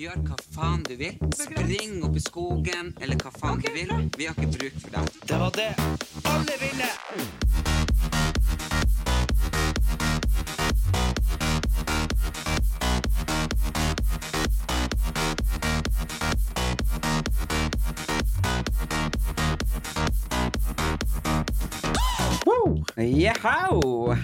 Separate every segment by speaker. Speaker 1: Gjør hva faen du vil. Spring opp i skogen, eller hva faen du vil. Vi har ikke bruk for deg. Det var det alle ville! Yahoo!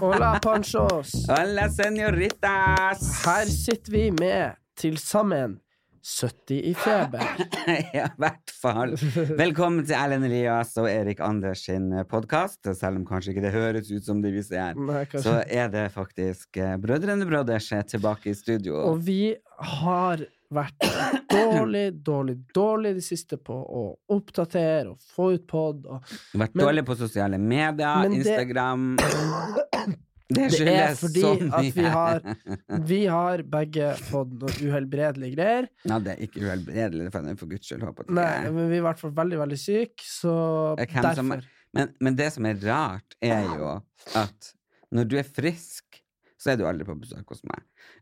Speaker 2: Hola, panchos.
Speaker 1: Hola, senoritas!
Speaker 2: Her sitter vi med til sammen 70 i feber.
Speaker 1: Ja, i hvert fall. Velkommen til Erlend Elias og Erik Anders sin podkast. Selv om kanskje ikke det høres ut som de viser her,
Speaker 2: Nei, kanskje.
Speaker 1: så er det faktisk eh, Brødrene Brothers er tilbake i studio.
Speaker 2: Og vi har vært dårlig, dårlig, dårlig de siste på å oppdatere og få ut pod. Og
Speaker 1: Vært
Speaker 2: men-
Speaker 1: dårlig på sosiale medier,
Speaker 2: Men det-
Speaker 1: Instagram Det
Speaker 2: det er
Speaker 1: skyldes
Speaker 2: fordi
Speaker 1: så sånn mye.
Speaker 2: at vi har, vi har begge fått noen uhelbredelige greier.
Speaker 1: Ja, det er ikke uhelbredelig, for, for guds skyld. Håper
Speaker 2: Nei,
Speaker 1: jeg.
Speaker 2: men vi er i hvert fall veldig, veldig syke, så
Speaker 1: Jeg kan som-
Speaker 2: derfor.
Speaker 1: Men, men det som er rart, er jo at når du er frisk, så er du aldri på besøk hos meg.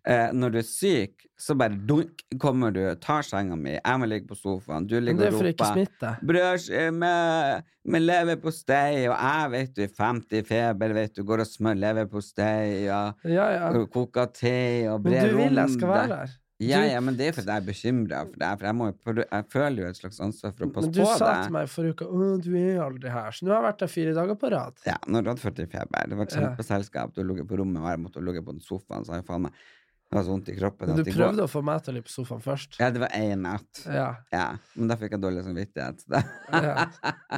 Speaker 1: Eh, når du er syk, så bare dunk, kommer du, tar senga mi, jeg må ligge på sofaen, du
Speaker 2: Men det
Speaker 1: ligger
Speaker 2: er
Speaker 1: og
Speaker 2: for å ikke
Speaker 1: roper.
Speaker 2: smitte.
Speaker 1: Brød med, med leverpostei, og jeg vet du er 50 i feber, vet du, går og smører leverpostei, og,
Speaker 2: Ja, ja.
Speaker 1: og koker te, og
Speaker 2: Men
Speaker 1: brer
Speaker 2: du vil jeg skal være der.
Speaker 1: Ja,
Speaker 2: Du-
Speaker 1: ja, men det er fordi jeg er bekymra for deg, for jeg, må, jo prø- jeg føler jo et slags ansvar for å passe
Speaker 2: Men du
Speaker 1: på
Speaker 2: sa
Speaker 1: deg.
Speaker 2: til meg forrige uke Å, du er aldri her. Så nå har jeg vært der fire dager på rad.
Speaker 1: Ja, når du hadde 40 i feber. Det var et
Speaker 2: Ja.
Speaker 1: kjempeselskap. Du lå på rommet, og jeg måtte ligge på den sofaen. Så jeg faen meg Det var så vondt i kroppen.
Speaker 2: Men
Speaker 1: at
Speaker 2: du
Speaker 1: i går-
Speaker 2: prøvde å få meg til å ligge på sofaen først.
Speaker 1: Ja, det var én natt.
Speaker 2: Ja,
Speaker 1: Ja, men da fikk jeg dårlig samvittighet.
Speaker 2: ja.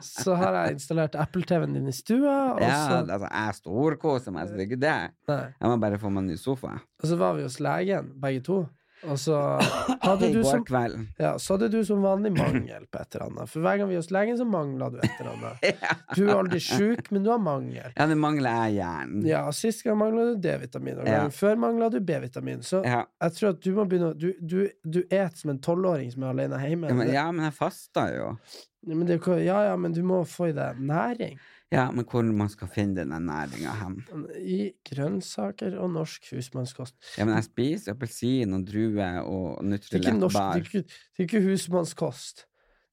Speaker 2: Så har jeg installert Apple-TV-en din i stua, og så,
Speaker 1: Ja, altså, jeg storkoser meg, så det er ikke det.
Speaker 2: nei.
Speaker 1: Jeg må bare få meg en ny sofa.
Speaker 2: og så var vi hos legen, begge to. Og så hadde,
Speaker 1: I
Speaker 2: du
Speaker 1: går
Speaker 2: som,
Speaker 1: kveld.
Speaker 2: ja, så hadde du som vanlig mangel på et eller annet. For hver gang vi er hos legen, så mangler du et eller annet. Du er aldri sjuk, men du har mangel.
Speaker 1: Ja, det mangler jeg jern.
Speaker 2: Ja, og Sist gang mangla du D-vitamin, og gangen
Speaker 1: Ja.
Speaker 2: før mangla du B-vitamin. Så
Speaker 1: Ja.
Speaker 2: jeg tror at du må begynne å Du, du, du et som en tolvåring som er alene hjemme.
Speaker 1: Ja, men,
Speaker 2: Det-
Speaker 1: ja, men jeg fasta jo.
Speaker 2: Ja, men det, er jo ikke- ja, ja, men du må få i deg næring
Speaker 1: Ja, men hvor man skal finne denne næringa hen?
Speaker 2: i grønnsaker og norsk husmannskost.
Speaker 1: Ja, men jeg spiser appelsin og druer og
Speaker 2: Det er ikke, norsk,
Speaker 1: nutrilettbar.
Speaker 2: det er ikke, det er ikke husmannskost.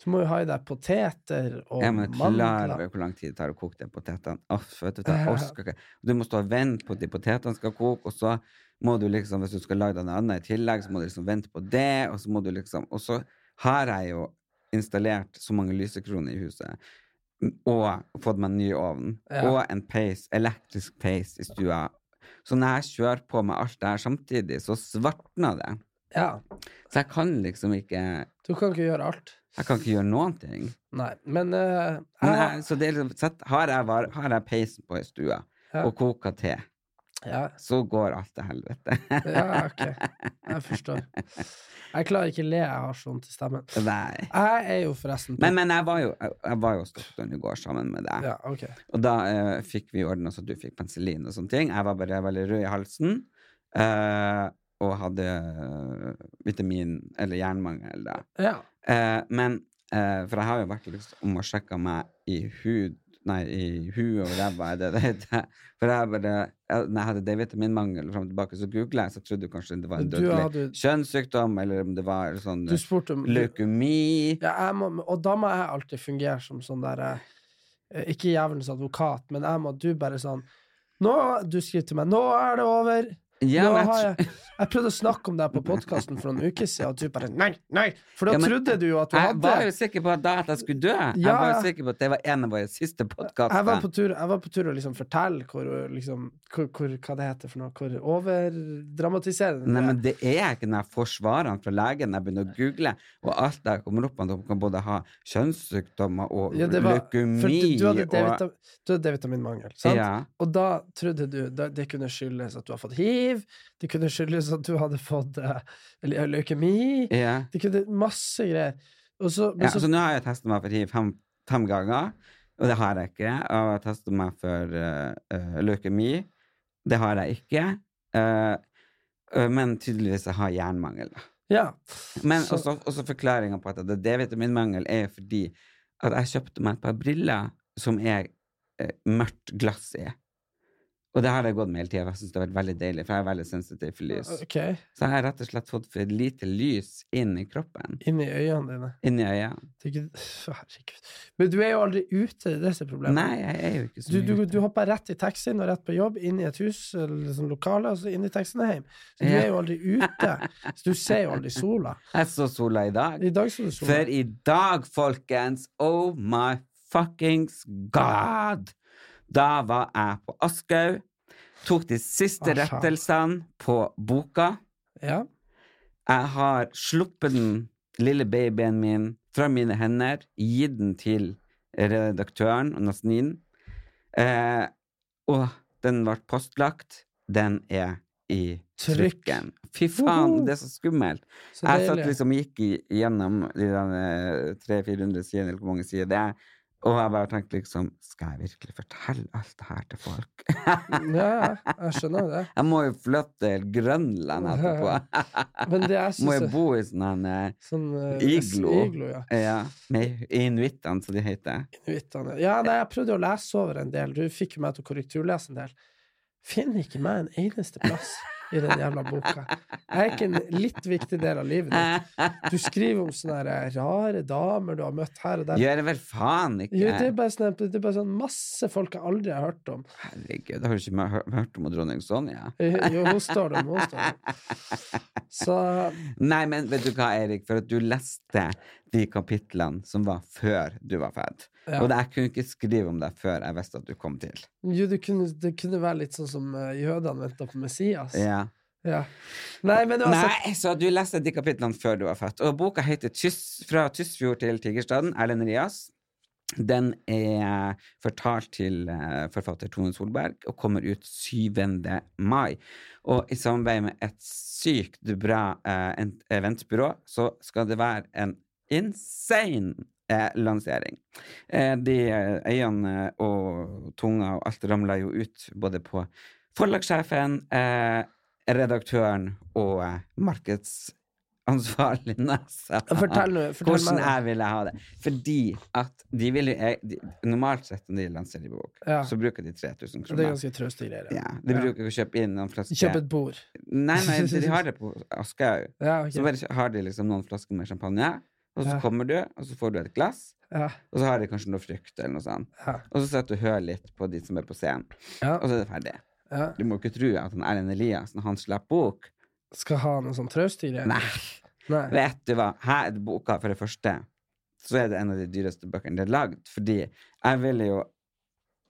Speaker 2: Du må jo ha i deg poteter og
Speaker 1: Ja, men jeg er klar
Speaker 2: mandler.
Speaker 1: over hvor lang tid det tar å koke de potetene. Åh, vet du, jeg orker ikke. Du må stå og vente på at de potetene skal koke, og så må du liksom, hvis du skal lage deg noe annet i tillegg, så må du liksom vente på det, og så må du liksom Og så har jeg jo installert så mange lysekroner i huset, og fått meg en ny ovn,
Speaker 2: Ja.
Speaker 1: og en peis, elektrisk peis i stua. Så når jeg kjører på med alt det her samtidig, så svartner det.
Speaker 2: Ja,
Speaker 1: Så jeg kan liksom ikke Jeg
Speaker 2: du kan ikke gjøre alt.
Speaker 1: kan ikke gjøre noen ting.
Speaker 2: Nei, men eh,
Speaker 1: Men
Speaker 2: jeg-
Speaker 1: jeg, så det er liksom, sett, har, jeg var, har jeg peisen på i stua
Speaker 2: Ja.
Speaker 1: og koker te,
Speaker 2: ja,
Speaker 1: så går alt til helvete.
Speaker 2: ja, ok. Jeg forstår. Jeg klarer ikke å le, jeg har sånn til stemmen.
Speaker 1: Nei.
Speaker 2: Jeg er jo forresten
Speaker 1: Men, men jeg var jo jeg- jeg var jo hos doktoren i går sammen med deg,
Speaker 2: Ja, ok.
Speaker 1: og da eh, fikk vi ordna så du fikk penicillin og sånne ting. Jeg var bare veldig rød i halsen eh, og hadde eh, vitamin- eller jernmangel. da.
Speaker 2: Ja.
Speaker 1: Eh, men eh, For jeg har jo vært liksom og sjekka meg i hud Nei, i huet og ræva, er det det heter? For jeg bare jeg- Når jeg hadde D-vitaminmangel fram og tilbake, så googla jeg, så trodde jeg kanskje det var en
Speaker 2: Du
Speaker 1: dødelig
Speaker 2: hadde-
Speaker 1: kjønnssykdom, eller om det var sånn
Speaker 2: Du spurte om
Speaker 1: leukemi
Speaker 2: Ja, jeg må, og da må jeg alltid fungere som sånn der eh, Ikke jævelens advokat, men jeg må du bare sånn nå, Du skriver til meg 'Nå er det over'.
Speaker 1: Ja,
Speaker 2: nå
Speaker 1: men jeg
Speaker 2: har
Speaker 1: tr-
Speaker 2: jeg, jeg prøvde å snakke om deg på podkasten for noen uker siden, og du bare 'Nei, nei'. For da
Speaker 1: Ja, men-
Speaker 2: trodde du jo at du
Speaker 1: jeg
Speaker 2: hadde
Speaker 1: var jo sikker på at da at jeg skulle dø. Jeg
Speaker 2: Ja.
Speaker 1: var jo sikker på at det var en av våre siste
Speaker 2: jeg var, på
Speaker 1: podkaster.
Speaker 2: tur, jeg var på tur å liksom fortelle hvor, liksom, hvor, hvor, hva det heter for noe, hvor overdramatiserende
Speaker 1: Nei,
Speaker 2: det er.
Speaker 1: men det er ikke når jeg får svarene fra legen, jeg begynner å google, og alt der kommer opp, man kan både ha kjønnssykdommer og
Speaker 2: Ja, det var- for
Speaker 1: leukemi
Speaker 2: du, du hadde
Speaker 1: og
Speaker 2: D-vitamin- du hadde D-vitaminmangel, sant?
Speaker 1: Ja.
Speaker 2: Og da trodde du da, det kunne skyldes at du har fått hiv, hiv. Det kunne skyldes at du hadde fått eh, le- leukemi.
Speaker 1: Ja.
Speaker 2: Det kunne masse greier. Og så, men
Speaker 1: Ja, altså,
Speaker 2: så,
Speaker 1: så nå har jeg testet meg for hiv fem, fem ganger, og det har jeg ikke. Og jeg testet meg for eh, eh, leukemi. Det har jeg ikke. Eh, eh, men tydeligvis jeg har jernmangel. da.
Speaker 2: ja.
Speaker 1: Men altså,
Speaker 2: Så-
Speaker 1: også, også forklaringa på at det er D-vitaminmangel, er jo fordi at jeg kjøpte meg et par briller som er eh, mørkt glass i. Og det har jeg gått med hele tida, og jeg syns det har vært veldig deilig, for jeg er veldig sensitiv for lys.
Speaker 2: Ok.
Speaker 1: Så jeg har rett og slett fått for lite lys inn i kroppen.
Speaker 2: Inni øynene dine.
Speaker 1: Inni øynene.
Speaker 2: Det er ikke- Herregud. Men du er jo aldri ute, det er det som er problemet.
Speaker 1: Nei, jeg er jo ikke så
Speaker 2: Du,
Speaker 1: mye
Speaker 2: du,
Speaker 1: ute.
Speaker 2: du hopper rett i taxien og rett på jobb, inn i et hus eller liksom lokale, og så inn i taxien og hjem. Så du
Speaker 1: Ja.
Speaker 2: er jo aldri ute. Så du ser jo aldri sola.
Speaker 1: Jeg så sola i dag.
Speaker 2: I dag så du sola.
Speaker 1: For i dag, folkens, oh my fuckings god! Da var jeg på Askau, tok de siste
Speaker 2: Ah, faen.
Speaker 1: rettelsene på boka.
Speaker 2: Ja.
Speaker 1: Jeg har sluppet den lille babyen min fra mine hender, gitt den til redaktøren, Nasnin, eh, og den ble postlagt. Den er i
Speaker 2: Trykk.
Speaker 1: trykken. Fy faen,
Speaker 2: Woho!
Speaker 1: det er så skummelt.
Speaker 2: Så
Speaker 1: Jeg satt
Speaker 2: deilig.
Speaker 1: liksom og gikk i- gjennom de der 300-400 sidene, eller hvor mange sider det er, og jeg bare tenkte liksom Skal jeg virkelig fortelle alt det her til folk? liksom-
Speaker 2: Ja, ja, jeg skjønner jo det.
Speaker 1: Jeg må jo flytte til Grønland etterpå.
Speaker 2: Men det jeg
Speaker 1: Må jo
Speaker 2: syns er
Speaker 1: bo i sånn en eh,
Speaker 2: sånn eh,
Speaker 1: iglo.
Speaker 2: iglo ja.
Speaker 1: Ja, med inuittene, som de heter.
Speaker 2: Inuittene. Ja, nei, jeg prøvde å lese over en del. Du fikk jo meg til å korrekturlese en del. Finner ikke meg en eneste plass i den jævla boka. Jeg er ikke en litt viktig del av livet ditt. Du skriver om sånne her eh, rare damer du har møtt her og der.
Speaker 1: Gjør det vel faen ikke!
Speaker 2: Jo, det er bare, sånn, det er bare sånn masse folk jeg aldri har hørt om.
Speaker 1: Herregud, har du ikke hø- hørt om dronning Sonja?
Speaker 2: Eh, Jo, hun står der, hun står der. Så
Speaker 1: Nei, men vet du hva, Eirik, for at du leste de kapitlene som var før du var født.
Speaker 2: Ja.
Speaker 1: Og det- jeg kunne ikke skrive om deg før jeg visste at du kom til.
Speaker 2: jo, det kunne, det kunne være litt sånn som eh, jødene venta på Messias.
Speaker 1: Ja.
Speaker 2: Ja. Nei, men uansett
Speaker 1: Nei, så du leste de kapitlene før du var født. Og boka heter Tyss, 'Fra Tysfjord til Tigerstaden', Erlend Rias. Den er fortalt til eh, forfatter Tone Solberg og kommer ut 7. mai. Og i samarbeid med et sykt bra eh, en- eventbyrå så skal det være en insane eh, lansering. Eh, de eh, øynene og tunga og alt ramla jo ut både på forlagssjefen, eh, redaktøren og eh, markedsansvarlig Nessa.
Speaker 2: Fortell nå. Fortell
Speaker 1: Hvordan
Speaker 2: meg.
Speaker 1: jeg ville ha det. Fordi at de vil jo jeg- de, Normalt sett når de lanserer en bok,
Speaker 2: Ja.
Speaker 1: så bruker de 3000
Speaker 2: Det er
Speaker 1: kroner.
Speaker 2: ganske trauste greier.
Speaker 1: Ja, de bruker ikke å kjøpe inn noen flasker.
Speaker 2: Kjøp et bord.
Speaker 1: Nei, nei, de har det på Aschehoug.
Speaker 2: Ja,
Speaker 1: Så
Speaker 2: ok.
Speaker 1: bare har de liksom noen flasker med champagne, og så
Speaker 2: Ja.
Speaker 1: kommer du, og så får du et glass,
Speaker 2: ja,
Speaker 1: og så har de kanskje noe frukt eller noe sånt.
Speaker 2: ja,
Speaker 1: Og så setter du og hører litt på de som er på scenen,
Speaker 2: ja,
Speaker 1: og så er det ferdig.
Speaker 2: ja.
Speaker 1: Du må ikke tro at han Erlend Eliassen, han slipper bok.
Speaker 2: Skal ha noe sånn trauste greier?
Speaker 1: Nei,
Speaker 2: Nei.
Speaker 1: vet du hva? Her er boka, for det første, så er det en av de dyreste bøkene det er lagd, fordi jeg ville jo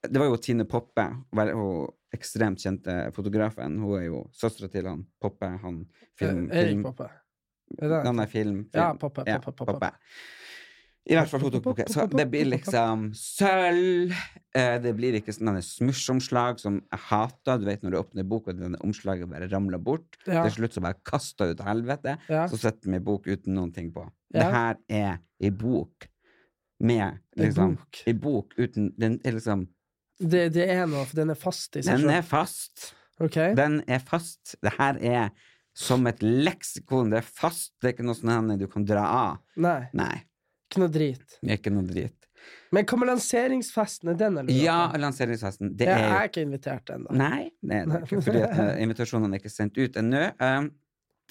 Speaker 1: Det var jo Tine Poppe, vel- hun ekstremt kjente fotografen, hun er jo søstera til han Poppe, han film...
Speaker 2: Eh, Erik
Speaker 1: film-
Speaker 2: Poppe. Er det
Speaker 1: Den
Speaker 2: han?
Speaker 1: er film. film.
Speaker 2: Ja, Poppe,
Speaker 1: Ja,
Speaker 2: Poppe, Poppe.
Speaker 1: Poppe. I hvert fall hun tok boken. Så det blir liksom sølv. eh, Det blir ikke sånne smørsomslag som jeg hater. Du vet når du åpner boka, og denne omslaget bare ramler bort.
Speaker 2: Ja.
Speaker 1: Til slutt så bare kaster du til helvete.
Speaker 2: Ja.
Speaker 1: Så setter vi ei bok uten noen ting på.
Speaker 2: Ja.
Speaker 1: Det her er ei bok med
Speaker 2: En
Speaker 1: liksom,
Speaker 2: bok.
Speaker 1: Ei bok uten Den er liksom
Speaker 2: Det, det er noe, for den er fast i seg
Speaker 1: Den
Speaker 2: selv.
Speaker 1: er fast.
Speaker 2: Ok?
Speaker 1: Den er fast. Det her er som et leksikon. Det er fast. Det er ikke noe sånn du kan dra av.
Speaker 2: Nei,
Speaker 1: Nei.
Speaker 2: ikke noe drit.
Speaker 1: Det er Ikke noe drit. Men,
Speaker 2: Men hva med lanseringsfesten? Er den, eller?
Speaker 1: ja, lanseringsfesten. Det
Speaker 2: Jeg
Speaker 1: er jo
Speaker 2: er ikke invitert ennå.
Speaker 1: Nei, det er det ikke, fordi at eh, invitasjonene er ikke sendt ut ennå. Um,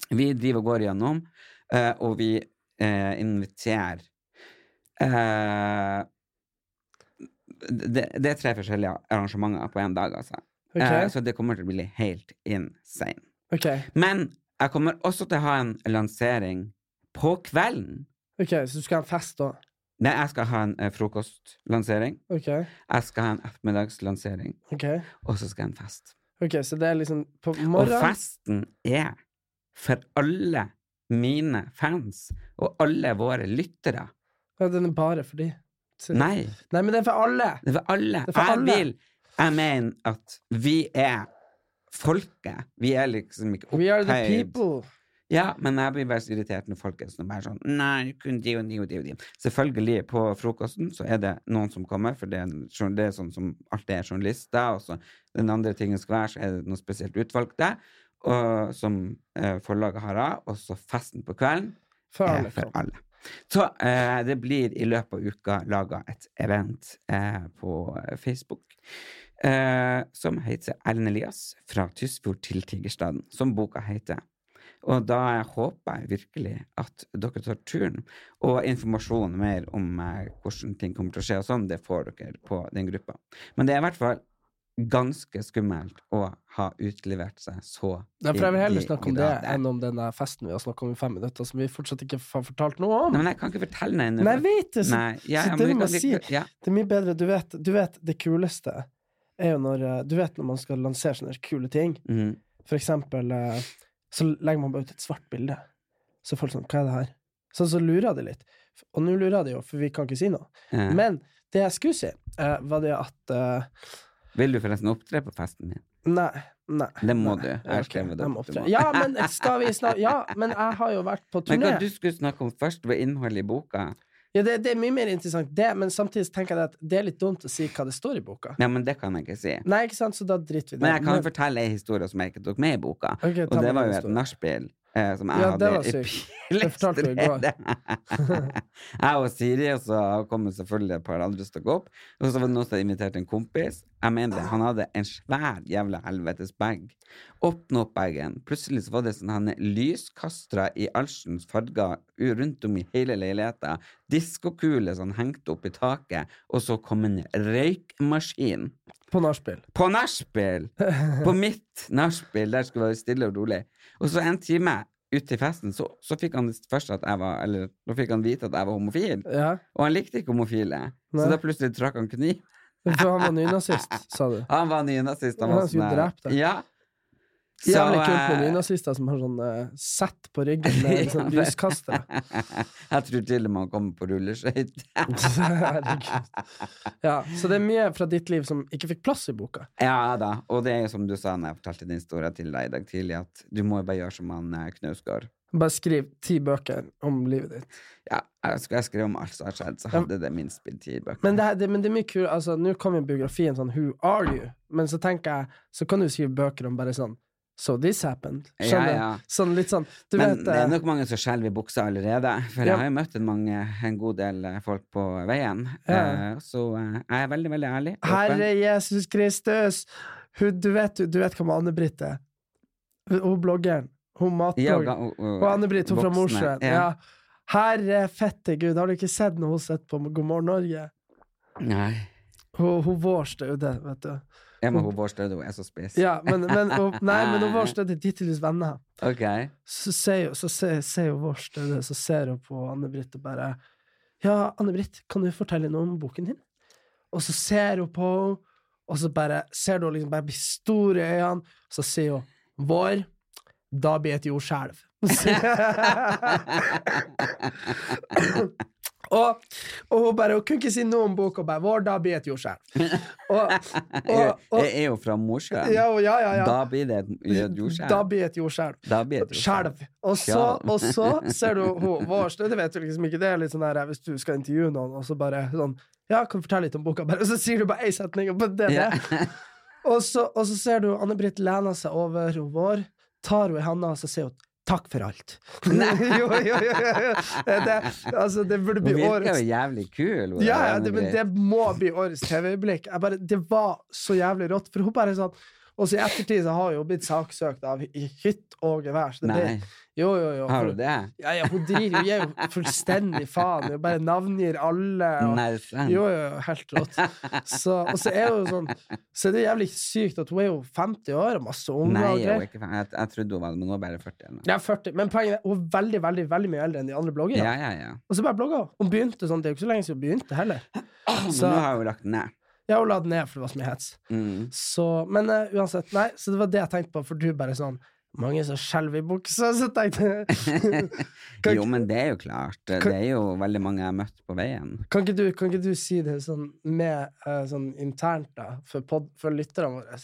Speaker 1: vi driver og går igjennom, eh, og vi eh, inviterer eh, det, det er tre forskjellige arrangementer på én dag, altså.
Speaker 2: Ok,
Speaker 1: Eh, så det kommer til å bli helt insane.
Speaker 2: ok,
Speaker 1: Men jeg kommer også til å ha en lansering på kvelden.
Speaker 2: ok, så du skal ha en fest da?
Speaker 1: Nei, jeg skal ha en eh, frokostlansering.
Speaker 2: Ok,
Speaker 1: Jeg skal ha en ettermiddagslansering,
Speaker 2: ok.
Speaker 1: og så skal jeg ha en fest.
Speaker 2: Ok, så det er liksom på
Speaker 1: Og
Speaker 2: morgenen
Speaker 1: festen er for alle mine fans og alle våre lyttere.
Speaker 2: Ja, den er bare for de. Så-
Speaker 1: Nei,
Speaker 2: Nei, men den er for alle!
Speaker 1: det er for alle.
Speaker 2: Det er for alle.
Speaker 1: Jeg vil Jeg mener at vi er folket. Vi er liksom ikke
Speaker 2: We are the
Speaker 1: opphøyd.
Speaker 2: people.
Speaker 1: Ja, men jeg blir bare så irritert når folk er sånn, bare sånn Nei, kun de og de og de og de. Selvfølgelig, på frokosten så er det noen som kommer, for det er, en jour- det er sånn som alltid er journalister, og så den andre tingen skal være, så er det noe spesielt utvalgte, og, som eh, forlaget har av, og så festen på kvelden
Speaker 2: For
Speaker 1: er
Speaker 2: alle. liksom.
Speaker 1: for alle. Så eh, det blir i løpet av uka laga et event eh, på Facebook eh, som heter Erlend Elias fra Tysfjord til Tigerstaden, som boka heter. Og da håper jeg virkelig at dere tar turen. Og informasjon mer om eh, hvordan ting kommer til å skje og sånn, det får dere på den gruppa. Men det er i hvert fall ganske skummelt å ha utlevert seg så
Speaker 2: Derfor jeg vil heller
Speaker 1: i-
Speaker 2: snakke
Speaker 1: i
Speaker 2: om det
Speaker 1: grad.
Speaker 2: enn om denne festen vi har snakka om i fem minutter, som vi fortsatt ikke har fortalt noe
Speaker 1: Nei,
Speaker 2: om.
Speaker 1: men jeg kan ikke fortelle deg ennå.
Speaker 2: Nei, jeg vet det! Så
Speaker 1: Nei, ja,
Speaker 2: så
Speaker 1: ja, men
Speaker 2: det
Speaker 1: vi
Speaker 2: må
Speaker 1: kan
Speaker 2: jeg
Speaker 1: like-
Speaker 2: si.
Speaker 1: ja.
Speaker 2: Det er mye bedre. Du vet, du vet det kuleste er jo når eh, Du vet når man skal lansere sånne kule ting.
Speaker 1: Mhm.
Speaker 2: For eksempel eh, så legger man bare ut et svart bilde. Så folk sånn Hva er det her? Så, så lurer de litt. Og nå lurer de jo, for vi kan ikke si noe.
Speaker 1: Ja.
Speaker 2: Men det jeg skulle si, eh, var det at eh,
Speaker 1: Vil du forresten opptre på festen min?
Speaker 2: Nei. Nei.
Speaker 1: Det må
Speaker 2: nei,
Speaker 1: du. Jeg
Speaker 2: ok,
Speaker 1: skrev det
Speaker 2: jeg
Speaker 1: opp,
Speaker 2: må
Speaker 1: du
Speaker 2: opptre.
Speaker 1: må.
Speaker 2: Ja, men et stav i snav- Ja, men jeg har jo vært på
Speaker 1: Men
Speaker 2: turné.
Speaker 1: hva du skulle snakke om først, var innholdet i boka.
Speaker 2: Ja, det, det er mye mer interessant, det, men samtidig så tenker jeg at det er litt dumt å si hva det står i boka.
Speaker 1: Ja, men det kan jeg ikke si.
Speaker 2: Nei, ikke sant, så da driter vi i det.
Speaker 1: Men jeg kan jo fortelle ei historie som jeg ikke tok med i boka.
Speaker 2: Ok,
Speaker 1: Og
Speaker 2: ta
Speaker 1: det var
Speaker 2: med
Speaker 1: jo
Speaker 2: den
Speaker 1: et
Speaker 2: historien.
Speaker 1: nachspiel eh, som jeg
Speaker 2: Ja, det
Speaker 1: hadde
Speaker 2: var
Speaker 1: i
Speaker 2: sykt. Det fortalte du i går.
Speaker 1: Pilestredet. jeg og Siri, og så kom det selvfølgelig et par andre stokk opp. Og så var det noen som inviterte en kompis. Jeg mener det, Han hadde en svær jævla helvetes bag. Åpna opp bagen. Plutselig så var det sånne lyskastere i allsens farger u- rundt om i hele leiligheta. Diskokuler sånn hengt opp i taket, og så kom en røykmaskin
Speaker 2: På nachspiel.
Speaker 1: på nachspiel! På mitt nachspiel, der skulle det være stille og rolig. Og så en time ut til festen, så, så fikk han først at jeg var Eller da fikk han vite at jeg var homofil,
Speaker 2: Ja.
Speaker 1: og han likte ikke homofile. Så
Speaker 2: Nei.
Speaker 1: da plutselig trakk han kniv.
Speaker 2: For han var nynazist, sa du.
Speaker 1: Han var nynazist.
Speaker 2: Ja,
Speaker 1: var
Speaker 2: han skulle
Speaker 1: sånn der-
Speaker 2: drepe deg.
Speaker 1: Ja.
Speaker 2: Jævlig kult med
Speaker 1: eh,
Speaker 2: nynazister som har sånn eh, sett på ryggen med en sånn
Speaker 1: Ja,
Speaker 2: lyskastere.
Speaker 1: jeg tror til og med han kommer på rulleskøyter.
Speaker 2: Herregud. Ja, så det er mye fra ditt liv som ikke fikk plass i boka.
Speaker 1: Ja da. Og det er jo som du sa når jeg fortalte din historie til deg i dag tidlig, at du må jo bare gjøre som han eh, Knausgård.
Speaker 2: Bare skriv ti bøker om livet ditt.
Speaker 1: Ja, jeg skulle jeg skrev om alt som har skjedd, så
Speaker 2: Ja.
Speaker 1: hadde det minst blitt ti bøker.
Speaker 2: Men det, her- det, men det er mye kul Altså, nå kom jo biografien sånn Who are you? Men så tenker jeg Så kan du skrive bøker om bare sånn So this happened
Speaker 1: Ja,
Speaker 2: Skjønner du?
Speaker 1: ja.
Speaker 2: Sånn litt sånn Du
Speaker 1: Men
Speaker 2: vet
Speaker 1: det er
Speaker 2: eh,
Speaker 1: nok mange som skjelver i buksa allerede. For
Speaker 2: Ja.
Speaker 1: jeg har jo møtt en, mange, en god del eh, folk på veien.
Speaker 2: Ja.
Speaker 1: Eh, Så eh, jeg er veldig, veldig ærlig. åpen.
Speaker 2: Herre Jesus Kristus Hun, du vet Du vet hva med Anne-Britt er Hun bloggeren Hun
Speaker 1: Ja,
Speaker 2: matblogger
Speaker 1: ga- og- og-
Speaker 2: Og Anne-Britt Hun fra
Speaker 1: voksne,
Speaker 2: Mosjøen ja.
Speaker 1: Ja.
Speaker 2: Herre fette Gud Har du ikke sett når hun sitter på God morgen Norge?
Speaker 1: Nei.
Speaker 2: Hun, hun vårste jo det Vet du
Speaker 1: Jeg må hun Bård Staude, hun er så spiss.
Speaker 2: Ja, men, men hun, Nei, men hun vårste Det er ditt livs venner
Speaker 1: Ok.
Speaker 2: så ser jo, så ser, ser jo vår støde, så ser hun på Anne-Britt og bare Ja, Anne-Britt, kan du fortelle noe om boken din? Og så ser hun på henne, og så bare ser du henne liksom bare bli stor i øynene, og så sier hun Vår, da blir et jordskjelv. og, og hun bare Hun kunne ikke si noe om boka, bare Vår, da blir et jordskjelv. Og,
Speaker 1: Jeg,
Speaker 2: og, og,
Speaker 1: jeg er jo fra Mosjøen.
Speaker 2: ja, ja, ja, ja.
Speaker 1: Da blir det et et jordskjelv.
Speaker 2: Da blir et jordskjelv.
Speaker 1: Da blir det et jordskjelv.
Speaker 2: Skjelv. Og så,
Speaker 1: Skjelv.
Speaker 2: og så ser du hun Vårstø, det vet du liksom ikke, det er litt sånn her hvis du skal intervjue noen, og så bare sånn Ja, kan du fortelle litt om boka, bare, og så sier du bare én setning, og bare det er det. Og så, og så ser du Anne-Britt lener seg over hun Vår, tar hun i handa, og så sier hun Takk for alt. jo, jo, jo, jo, jo. Det, altså, det burde
Speaker 1: Hun
Speaker 2: bli
Speaker 1: virker
Speaker 2: årets
Speaker 1: jo jævlig kul. hun
Speaker 2: ja, ja
Speaker 1: Anne
Speaker 2: det, men
Speaker 1: Britt.
Speaker 2: det må bli årets TV-øyeblikk. Jeg bare- Det var så jævlig rått. For hun bare sånn Og så i ettertid så har hun jo blitt saksøkt av i hytt og gevær. Så det
Speaker 1: Nei.
Speaker 2: ble, jo, jo, jo.
Speaker 1: Har
Speaker 2: for-
Speaker 1: hun det?
Speaker 2: Ja, ja, hun driver jo, gir jo fullstendig faen. Hun bare navngir alle. Og,
Speaker 1: Nei, det er sant.
Speaker 2: jo, jo, jo, helt rått. Så, og så er hun jo sånn Så er det jævlig sykt at hun er jo 50 år og masse unger
Speaker 1: Nei,
Speaker 2: og
Speaker 1: hun er
Speaker 2: greier.
Speaker 1: ikke fan. Jeg, jeg trodde hun var det, men hun er bare 40 ennå.
Speaker 2: Ja, 40. Men poenget er hun er veldig, veldig veldig mye eldre enn de andre bloggerne.
Speaker 1: Ja, ja, ja.
Speaker 2: Og så bare blogga hun. Hun begynte sånn, det er jo ikke så lenge siden hun begynte heller.
Speaker 1: Men
Speaker 2: Så-
Speaker 1: nå har hun lagt den ned.
Speaker 2: Ja, hun la den ned, for det var så mye hets.
Speaker 1: Mm.
Speaker 2: Så, men eh, uansett, nei, så det var det jeg tenkte på, for du bare sånn Mange som skjelver i buksa, så tenkte jeg Kan-
Speaker 1: jo, men det er jo klart. Det er jo veldig mange jeg har møtt på veien.
Speaker 2: Kan ikke du, kan ikke du si det sånn med eh, sånn internt, da, for, pod, for lytterne våre?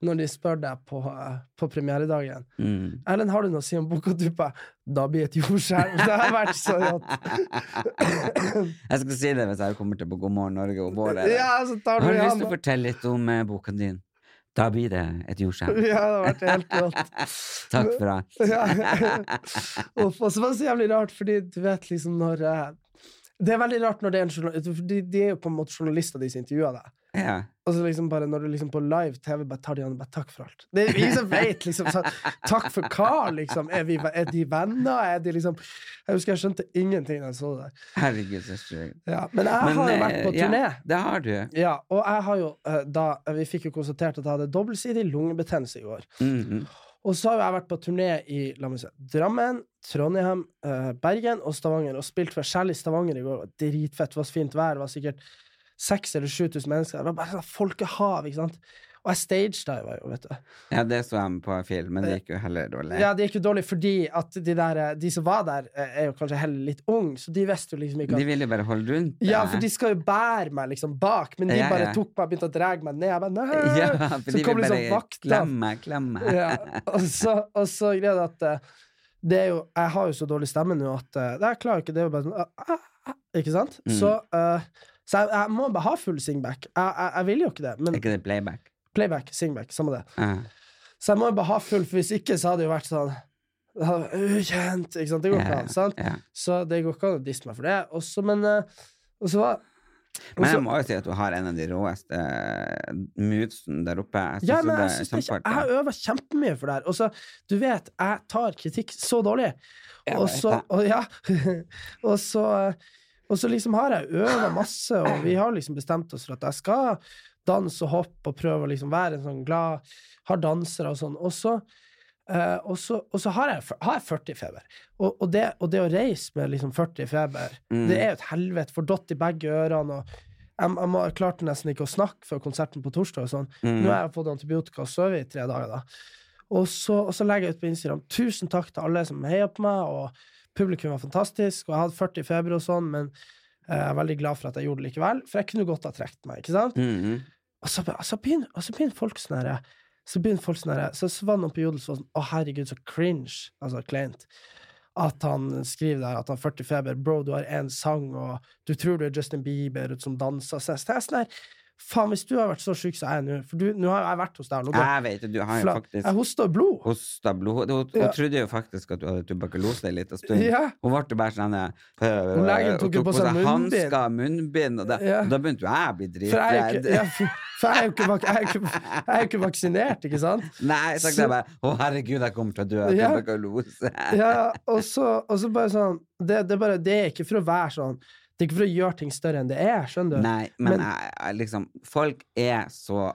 Speaker 2: når de spør deg på, eh, på premieredagen
Speaker 1: Mm.
Speaker 2: Erlend, har du noe å si om boka? Og du bare Da blir et jordskjelv. Det har vært så rått.
Speaker 1: Jeg skal si det hvis jeg kommer til på God morgen Norge og vår. eller?
Speaker 2: ja, så tar du
Speaker 1: Har du lyst
Speaker 2: i
Speaker 1: til å
Speaker 2: hånda.
Speaker 1: fortelle litt om eh, boken din? Da blir det et jordskjelv.
Speaker 2: Ja, det har vært helt rått.
Speaker 1: Takk for alt.
Speaker 2: Ja. Uff, og så var det så jævlig rart, fordi du vet liksom når eh, Det er veldig rart når det er en journalist De, de er jo på en måte journalister, de som intervjuer deg.
Speaker 1: Ja.
Speaker 2: Og så liksom bare når du liksom på live TV bare tar de an og bare 'takk for alt'. Det er ingen som vet, liksom. Så, takk for hva, liksom? Er, vi, er de venner? Er de liksom Jeg husker jeg skjønte ingenting da jeg så det der.
Speaker 1: Herregud, så sjukt.
Speaker 2: Ja. Men jeg
Speaker 1: Men,
Speaker 2: har jo
Speaker 1: eh,
Speaker 2: vært på turné.
Speaker 1: Ja, det har du.
Speaker 2: Ja, og jeg har jo eh, da Vi fikk jo konstatert at jeg hadde dobbeltsidig lungebetennelse i år.
Speaker 1: Mhm.
Speaker 2: Og så har jo jeg vært på turné i la meg se, Drammen, Trondheim, eh, Bergen og Stavanger, og spilt for Shell i Stavanger i går. Det var dritfett, det var så fint vær, det var sikkert 6000 eller 7000 mennesker. Det var bare sånn folkehav, ikke sant. Og jeg stagediva jo, vet du.
Speaker 1: Ja, det så jeg med på film, men det gikk jo heller dårlig.
Speaker 2: Ja, Det gikk jo dårlig fordi at de, der, eh, de som var der, eh, er jo kanskje heller litt unge, så de visste jo liksom ikke at
Speaker 1: De ville bare holde rundt deg.
Speaker 2: ja, for de skal jo bære meg liksom bak, men de
Speaker 1: Ja, ja.
Speaker 2: bare tok meg og begynte å dra meg ned. Jeg bare, nei!
Speaker 1: Ja, for
Speaker 2: Så
Speaker 1: de
Speaker 2: kom
Speaker 1: vil
Speaker 2: liksom
Speaker 1: bare
Speaker 2: vakta.
Speaker 1: klemme, klemme.
Speaker 2: ja, og så, og så greia er at eh, det er jo, jeg har jo så dårlig stemme nå at eh, jeg klarer ikke det. er jo bare sånn, ah, ah, ah, Ikke sant?
Speaker 1: Mm.
Speaker 2: Så, eh, så jeg, jeg må bare ha full singback. Jeg, jeg, jeg vil jo ikke det,
Speaker 1: Er
Speaker 2: men
Speaker 1: ikke det playback? Ah,
Speaker 2: playback, singback, samme det.
Speaker 1: Ja.
Speaker 2: Så jeg må jo bare ha full, for hvis ikke så hadde det jo vært sånn det hadde vært Ukjent! Ikke sant? Det går ikke
Speaker 1: Ja,
Speaker 2: an. sant?
Speaker 1: ja.
Speaker 2: Så det går ikke an å disse meg for det. Og så, men eh, Og så var
Speaker 1: Men
Speaker 2: og så-
Speaker 1: jeg må jo si at du har en av de råeste eh, movesen der oppe. Jeg
Speaker 2: Ja,
Speaker 1: synes
Speaker 2: men
Speaker 1: jo
Speaker 2: jeg,
Speaker 1: det er
Speaker 2: synes det ikke, jeg
Speaker 1: kjempeartig.
Speaker 2: har øva kjempemye for det her. Og så, du vet, jeg tar kritikk så dårlig.
Speaker 1: Jeg
Speaker 2: Og
Speaker 1: vet
Speaker 2: så,
Speaker 1: det.
Speaker 2: og, ja, og så Og så liksom har jeg øva masse, og vi har liksom bestemt oss for at jeg skal danse og hoppe og prøve å liksom være en sånn glad Har dansere og sånn. Og så eh, og så, og så har, jeg, f- har jeg 40 i feber. Og, og, det, og det å reise med liksom 40 i feber,
Speaker 1: Mm.
Speaker 2: det er jo et helvete. Får dott i begge ørene. Og jeg, jeg, må, jeg klarte nesten ikke å snakke før konserten på torsdag. og sånn
Speaker 1: Mm.
Speaker 2: nå har jeg fått antibiotika og sovet i tre dager, da. Og så, og så legger jeg ut på Instagram tusen takk til alle som heier på meg, og publikum var fantastisk, og jeg hadde 40 i feber og sånn, men eh, jeg er veldig glad for at jeg gjorde det likevel, for jeg kunne godt ha trukket meg, ikke sant?
Speaker 1: Mhm.
Speaker 2: Og så, og så, begynner, og så begynner folk sånn herre Så begynner folk sånn herre Så så var det noen på Jodel som var sånn Å, herregud, så cringe. Altså kleint. At han skriver der at han har 40 feber. Bro, du har én sang, og du tror du er Justin Bieber som danser. Så jeg så jeg er sånn her Faen, hvis du har vært så syk som jeg er nå For du, nå har jeg vært hos deg. og nå bare
Speaker 1: Jeg vet det, du har jo
Speaker 2: fla-
Speaker 1: faktisk
Speaker 2: Jeg hosta blod.
Speaker 1: hosta blod. Hun, hun
Speaker 2: Ja.
Speaker 1: trodde jo faktisk at du hadde tuberkulose en liten stund.
Speaker 2: Ja.
Speaker 1: Hun ble jo bare sånn eh,
Speaker 2: Og legen tok jo på seg munnbind.
Speaker 1: hansker, munnbind, og da,
Speaker 2: Ja.
Speaker 1: da begynte jo jeg å bli
Speaker 2: For jeg er jo
Speaker 1: dritredd.
Speaker 2: ikke, ja, for, for jeg er jo ikke, vak- jeg er jo ikke, jeg er jo ikke vaksinert, ikke sant?
Speaker 1: Nei, så tenkte jeg bare Å, herregud, jeg kommer til å dø av
Speaker 2: Ja.
Speaker 1: tuberkulose.
Speaker 2: ja, og så, og så bare sånn det, det, er bare, det er ikke for å være sånn. Det er ikke for å gjøre ting større enn det er, skjønner du?
Speaker 1: Nei, men,
Speaker 2: Men-
Speaker 1: jeg, jeg, liksom Folk er så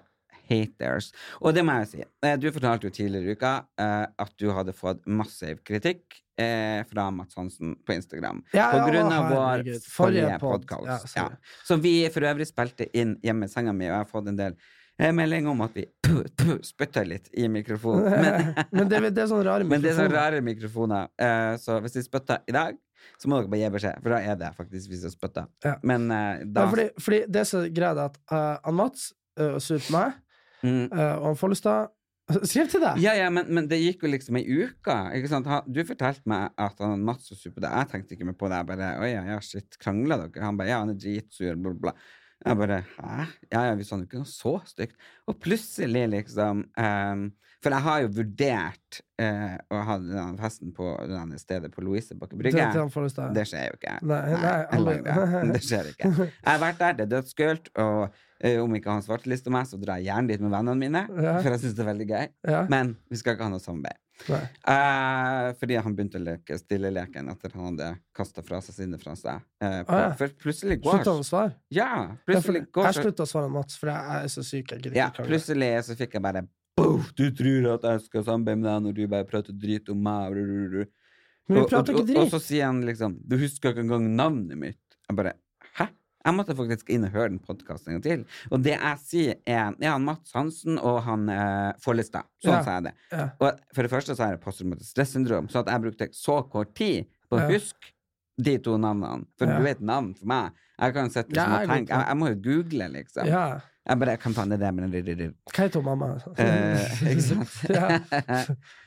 Speaker 1: haters. Og det må jeg si. eh, Du fortalte jo tidligere i uka eh, at du hadde fått massiv kritikk eh, fra Mats Hansen på Instagram.
Speaker 2: Ja,
Speaker 1: på
Speaker 2: ja,
Speaker 1: grunn
Speaker 2: å,
Speaker 1: av vår
Speaker 2: herregud.
Speaker 1: forrige
Speaker 2: Forrige pod. Ja,
Speaker 1: podkast. Ja,
Speaker 2: sorry.
Speaker 1: Som vi for øvrig spilte inn hjemme i senga mi, og jeg har fått en del eh, meldinger om at vi puh, puh, spytter litt i mikrofonen. Men
Speaker 2: Men det, er- det er sånn rare
Speaker 1: men det er sånne
Speaker 2: mikrofoner.
Speaker 1: rare mikrofoner, eh, så hvis de spytter i dag, så må dere bare gi beskjed, for da er det faktisk vi som spytter.
Speaker 2: Ja.
Speaker 1: Men eh, da
Speaker 2: Nei, fordi, fordi det som er greia, er at eh, han Mats eh, og sur på meg,
Speaker 1: Mm.
Speaker 2: eh, og han Follestad Skriv til deg!
Speaker 1: Ja, ja, men, men det gikk jo liksom ei uke. Ikke sant? Han, du fortalte meg at han hadde Mats og sur på deg. Jeg tenkte ikke mer på det. Jeg bare Å ja, ja, shit, krangla dere? Han bare Ja, han er dritsur, bla, bla. bla. Jeg bare Hæ? Ja, ja, vi sa jo ikke noe så stygt. Og plutselig, liksom ehm, For jeg har jo vurdert eh, å ha den festen på det stedet på Louisebakke
Speaker 2: Til,
Speaker 1: brygge.
Speaker 2: til han Follestad.
Speaker 1: Det skjer jo ikke.
Speaker 2: Nei, nei,
Speaker 1: jeg
Speaker 2: aldri.
Speaker 1: lager det. det skjer ikke. Jeg har vært der, det er dødskult, og eh, om ikke han svartelister meg, så drar jeg gjerne dit med vennene mine,
Speaker 2: Ja.
Speaker 1: for jeg syns det er veldig gøy.
Speaker 2: Ja.
Speaker 1: Men vi skal ikke ha noe samarbeid.
Speaker 2: Nei.
Speaker 1: Eh, fordi han begynte å leke stilleleken etter han hadde kasta fra seg sine fra seg. eh, på,
Speaker 2: Ah, ja.
Speaker 1: For plutselig går
Speaker 2: Slutta han å svare?
Speaker 1: Ja,
Speaker 2: Ja, for-
Speaker 1: plutselig går
Speaker 2: Jeg slutta å svare han Mats, for jeg, jeg er så syk. Jeg gidder
Speaker 1: ja,
Speaker 2: ikke krangle.
Speaker 1: plutselig så fikk jeg bare Boff, du tror at jeg skal samarbeide med deg når du bare prater drit om meg. bru, bru, bru.
Speaker 2: Men vi
Speaker 1: Og-
Speaker 2: prater
Speaker 1: og,
Speaker 2: ikke
Speaker 1: og, og
Speaker 2: dritt.
Speaker 1: så sier han liksom Du husker ikke engang navnet mitt. Jeg bare Hæ? Jeg måtte faktisk inn og høre den podkasten en gang til. Og det jeg sier, er Ja, han Mats Hansen og han eh, Follestad. Sånn
Speaker 2: Ja.
Speaker 1: sa jeg det.
Speaker 2: Ja.
Speaker 1: Og for det første så er det posttraumatisk stressyndrom, så at jeg brukte så kort tid på å
Speaker 2: Ja.
Speaker 1: huske de to navnene. For
Speaker 2: Ja.
Speaker 1: du vet navn for meg. Jeg kan sette
Speaker 2: Ja,
Speaker 1: liksom, og
Speaker 2: jeg er
Speaker 1: tenke
Speaker 2: god på
Speaker 1: jeg, jeg må jo google, liksom.
Speaker 2: Ja.
Speaker 1: Jeg bare Hva faen er det med den rir, rir, rir?
Speaker 2: Hva heter hun mamma?
Speaker 1: Eh, Ikke sant?
Speaker 2: ja.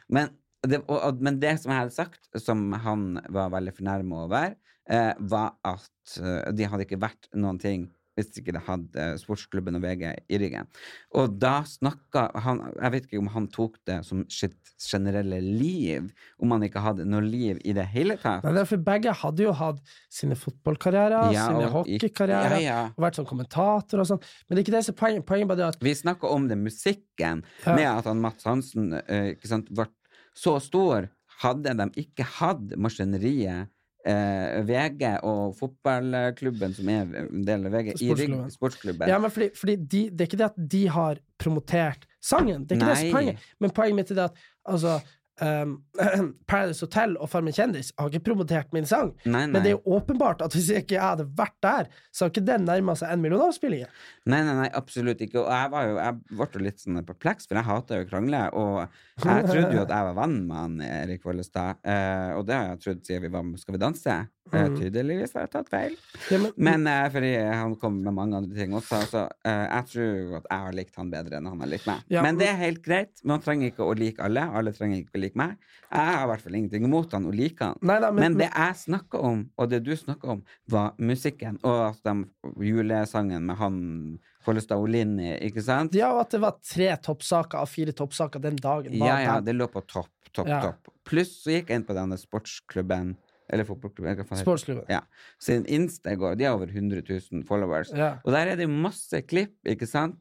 Speaker 1: men, det, og, og, men det som jeg hadde sagt, som han var veldig fornærma over, eh, var at eh, det hadde ikke vært noen ting hvis ikke det hadde sportsklubben og VG i ryggen. Og da snakka han Jeg vet ikke om han tok det som sitt generelle liv, om han ikke hadde noe liv i det hele tatt.
Speaker 2: Nei, det er for begge hadde jo hatt sine fotballkarrierer, sine
Speaker 1: og gikk-
Speaker 2: hockeykarrierer,
Speaker 1: Ja, ja.
Speaker 2: og vært som kommentator og sånn. Men det er ikke det som er poenget. Poenget bare er at
Speaker 1: Vi snakka om det musikken,
Speaker 2: Ja.
Speaker 1: med at han Mats Hansen eh, ikke sant, ble så stor. Hadde de ikke hatt maskineriet eh, VG og fotballklubben, som er en del av VG, i rygg,
Speaker 2: Sportsklubben.
Speaker 1: sportsklubben
Speaker 2: Ja, men fordi, fordi de, Det er ikke det at de har promotert sangen, det er ikke det som er
Speaker 1: Nei.
Speaker 2: poenget. Men poenget mitt er det at altså, ehm, Paradise Hotel og Farmen kjendis har ikke promotert min sang.
Speaker 1: Nei, nei.
Speaker 2: Men det er jo åpenbart at hvis ikke jeg hadde vært der, så hadde ikke den nærma seg en million avspillinger.
Speaker 1: Nei, nei, nei, absolutt ikke. Og jeg, var jo, jeg ble jo litt sånn perpleks, for jeg hater jo å krangle. Og jeg trodde jo at jeg var venn med han Erik Vollestad, eh, og det har jeg trodd siden vi var med Skal vi danse. Eh,
Speaker 2: Mm.
Speaker 1: tydeligvis har jeg tatt feil.
Speaker 2: Ja, men,
Speaker 1: Men eh, fordi han kom med mange andre ting også, så eh, jeg tror jo at jeg har likt han bedre enn han har likt meg.
Speaker 2: Ja,
Speaker 1: men det er helt greit. Man trenger ikke å like alle. Alle trenger ikke å like meg. Jeg har i hvert fall ingenting imot han og liker han.
Speaker 2: Nei, nei,
Speaker 1: Men, det jeg snakka om, og det du snakka om, var musikken. Og at de julesangen med han Follestad og Linni, ikke sant?
Speaker 2: Ja, og at det var tre toppsaker av fire toppsaker den dagen. var
Speaker 1: Ja, ja,
Speaker 2: den.
Speaker 1: det lå på topp, topp,
Speaker 2: Ja.
Speaker 1: topp. Pluss så gikk jeg inn på denne sportsklubben, eller fotballklubben, hva faen heter det?
Speaker 2: Sportsklubben.
Speaker 1: Ja. Sin Insta i går, de har over 100 000 followers.
Speaker 2: Ja.
Speaker 1: Og der er det masse klipp, ikke sant?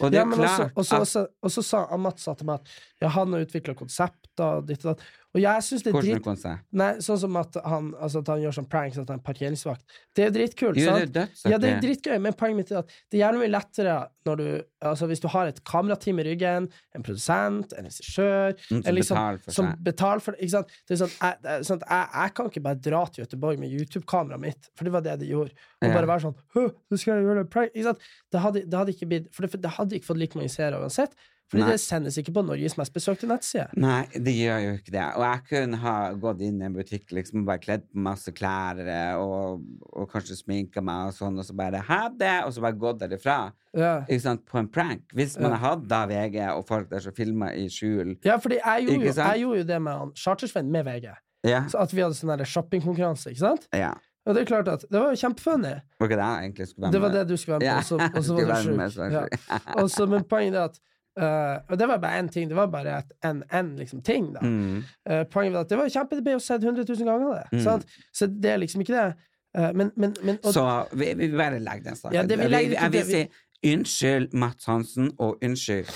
Speaker 1: Og det er
Speaker 2: Ja, men også,
Speaker 1: klart
Speaker 2: også,
Speaker 1: at
Speaker 2: også, også sa han Mats sa til meg at ja, han har utvikla konsepter og ditt og datt. Og jeg syns det er
Speaker 1: Hvordan
Speaker 2: drit
Speaker 1: kom seg?
Speaker 2: Nei, Sånn som at han, altså, at han gjør sånn pranks, at han er parkeringsvakt. Det er jo dritkult,
Speaker 1: Jo, det er
Speaker 2: sant?
Speaker 1: dødsartig.
Speaker 2: Ja, det er dritgøy, men poenget mitt er at det er gjerne mye lettere når du Altså, hvis du har et kamerateam i ryggen, en produsent, en regissør
Speaker 1: Mm, som
Speaker 2: eller
Speaker 1: betaler for
Speaker 2: som
Speaker 1: seg.
Speaker 2: betaler for det, ikke sant? Det er sånn, jeg, det er sånn at jeg, jeg kan ikke bare dra til Göteborg med YouTube-kameraet mitt, for det var det de gjorde, og
Speaker 1: Ja.
Speaker 2: bare være sånn «Hø, nå skal jeg gjøre det, prank», ikke sant? Det hadde, det hadde ikke blitt For det, det hadde ikke fått like mange seere uansett, fordi
Speaker 1: Nei.
Speaker 2: det sendes ikke på Norges mest besøkte nettside.
Speaker 1: Nei, det gjør jo ikke det. Og jeg kunne ha gått inn i en butikk liksom, og bare kledd på masse klær eh, og, og kanskje sminka meg og sånn, og så bare ha det, og så bare gått derifra.
Speaker 2: Ja.
Speaker 1: Ikke sant? På en prank. Hvis man hadde da VG og folk der som filma i skjul.
Speaker 2: Ja, fordi jeg gjorde,
Speaker 1: Ikke
Speaker 2: jo,
Speaker 1: sant?
Speaker 2: jeg gjorde jo det med han Chartersven med VG.
Speaker 1: Ja.
Speaker 2: Så at vi hadde sånn der shoppingkonkurranse, ikke sant?
Speaker 1: ja.
Speaker 2: Og det er klart at det var jo kjempefunny.
Speaker 1: Var ikke det jeg egentlig skulle være
Speaker 2: Det var
Speaker 1: med?
Speaker 2: det du skulle være med på, og så- og så
Speaker 1: Skulle
Speaker 2: var
Speaker 1: være
Speaker 2: du
Speaker 1: med,
Speaker 2: sjuk.
Speaker 1: så var jeg
Speaker 2: Ja.
Speaker 1: sjuk.
Speaker 2: Og så- Men poenget er at eh, Og det var bare én ting. Det var bare et- en, en liksom ting, da.
Speaker 1: Mm.
Speaker 2: Eh, poenget var at det var jo kjempe, det ble jo sett 100 000 ganger, det. Sant? Så det er liksom ikke det. Eh, men, men, men og,
Speaker 1: Så vi, vi bare legger den saken.
Speaker 2: Ja, det vi
Speaker 1: Jeg
Speaker 2: legger
Speaker 1: vil-
Speaker 2: ikke
Speaker 1: jeg vil
Speaker 2: det vi-
Speaker 1: si unnskyld, Mats Hansen, og unnskyld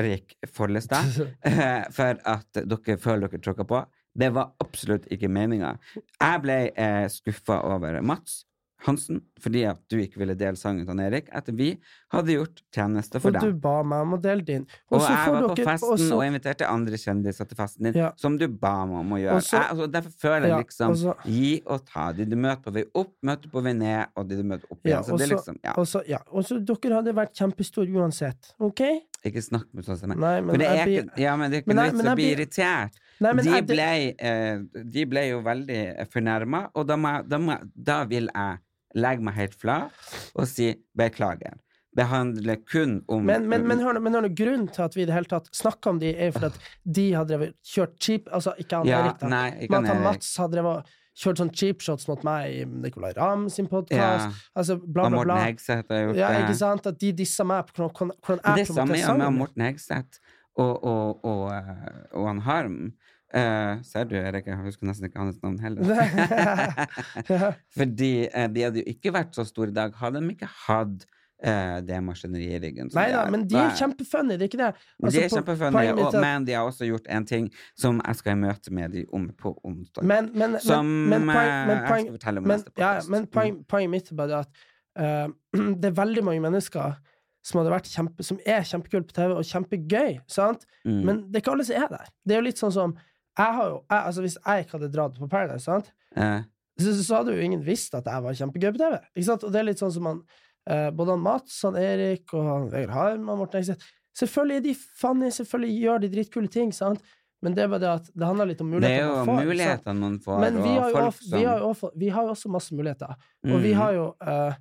Speaker 1: Erik Follestad, eh, for at dere føler dere tråkka på. Det var absolutt ikke meninga. Jeg ble eh, skuffa over Mats Hansen fordi at du ikke ville dele sangen til han Erik, etter vi hadde gjort tjeneste for
Speaker 2: og du
Speaker 1: deg.
Speaker 2: ba meg om å dele din.
Speaker 1: Og
Speaker 2: så
Speaker 1: jeg
Speaker 2: får
Speaker 1: var på
Speaker 2: dere-
Speaker 1: festen
Speaker 2: og
Speaker 1: og,
Speaker 2: så-
Speaker 1: inviterte andre kjendiser til festen din,
Speaker 2: Ja.
Speaker 1: som du ba meg om å gjøre.
Speaker 2: Og så-
Speaker 1: jeg, altså, derfor føler jeg
Speaker 2: Ja,
Speaker 1: liksom
Speaker 2: og så-
Speaker 1: gi og ta. De du møter på vei opp, møter på vei ned, og de du møter opp igjen.
Speaker 2: Ja,
Speaker 1: så
Speaker 2: og
Speaker 1: det er
Speaker 2: så-
Speaker 1: liksom, ja,
Speaker 2: og så- ja, og så dere hadde vært kjempestore uansett. OK?
Speaker 1: Ikke snakk med sånn som meg.
Speaker 2: Nei, men
Speaker 1: For det er
Speaker 2: jeg blir-
Speaker 1: ikke, ja, men det er ikke
Speaker 2: Men
Speaker 1: noe
Speaker 2: jeg-
Speaker 1: vits
Speaker 2: men
Speaker 1: å
Speaker 2: jeg
Speaker 1: bli
Speaker 2: blir-
Speaker 1: irritert.
Speaker 2: Nei, men
Speaker 1: de,
Speaker 2: jeg- det-
Speaker 1: ble, eh, de ble jo veldig fornærma, og da, må, jeg- da, må, jeg- da vil jeg legge meg helt flat og si beklager. Det handler kun om
Speaker 2: Men, men, men, hør, nå- men hør nå, grunnen til at vi i det hele tatt snakka om de, er jo fordi at de har drevet kjørt cheap Altså ikke han
Speaker 1: Ja,
Speaker 2: Erik, da,
Speaker 1: nei, ikke han
Speaker 2: men at han
Speaker 1: Erik.
Speaker 2: Mats har drevet og kjørt sånn cheap shots mot meg i Nicolay Ramm sin podkast.
Speaker 1: Ja.
Speaker 2: Altså bla,
Speaker 1: Og
Speaker 2: bla,
Speaker 1: Morten
Speaker 2: bla.
Speaker 1: Hegseth har gjort
Speaker 2: Ja,
Speaker 1: det.
Speaker 2: ikke sant? At de dissa meg på hvordan, hvordan
Speaker 1: Det
Speaker 2: jeg
Speaker 1: samme
Speaker 2: promoterer
Speaker 1: er med
Speaker 2: sangen. min.
Speaker 1: Morten Hegseth og, og, og, eh, og han Harm. Eh, ser du, Erik, jeg husker nesten ikke hans navn heller. Fordi eh, de hadde jo ikke vært så store i dag, hadde de ikke hatt eh, det maskineriet i ryggen. som
Speaker 2: Nei
Speaker 1: de
Speaker 2: da,
Speaker 1: har.
Speaker 2: men de er
Speaker 1: Nei.
Speaker 2: kjempefunny, det er ikke det? Altså,
Speaker 1: Men de er
Speaker 2: på-
Speaker 1: kjempefunny,
Speaker 2: poenget mitt
Speaker 1: og,
Speaker 2: er at-
Speaker 1: men de har også gjort en ting som jeg skal i møte med de om på onsdag.
Speaker 2: Men, men, men,
Speaker 1: Som,
Speaker 2: men,
Speaker 1: eh,
Speaker 2: poeng, men,
Speaker 1: jeg
Speaker 2: poeng,
Speaker 1: skal fortelle om
Speaker 2: men,
Speaker 1: neste
Speaker 2: ja,
Speaker 1: podcast. Mm.
Speaker 2: men poeng, poenget mitt er bare det at eh, det er veldig mange mennesker som, hadde vært kjempe, som er kjempekult på TV og kjempegøy, sant?
Speaker 1: Mm.
Speaker 2: men det er ikke alle som er der. Det er jo litt sånn som jeg har jo, jeg, altså Hvis jeg ikke hadde dratt på Paradise, sant?
Speaker 1: Eh,
Speaker 2: Så, så hadde jo ingen visst at jeg var kjempegøy på TV. Ikke sant? Og det er litt sånn som han, eh, både han Mats, han Erik og han Vegard Harm og Morten Hegseth Selvfølgelig er de funny, selvfølgelig gjør de dritkule ting, sant? men det er bare det at det handler litt om
Speaker 1: det er
Speaker 2: mulighetene
Speaker 1: jo
Speaker 2: man får. ikke sant?
Speaker 1: mulighetene man får,
Speaker 2: altså, Men vi har,
Speaker 1: og
Speaker 2: jo,
Speaker 1: folk
Speaker 2: også, vi,
Speaker 1: som
Speaker 2: har jo, også- vi har jo også masse muligheter. Og vi
Speaker 1: Mhm.
Speaker 2: har jo eh,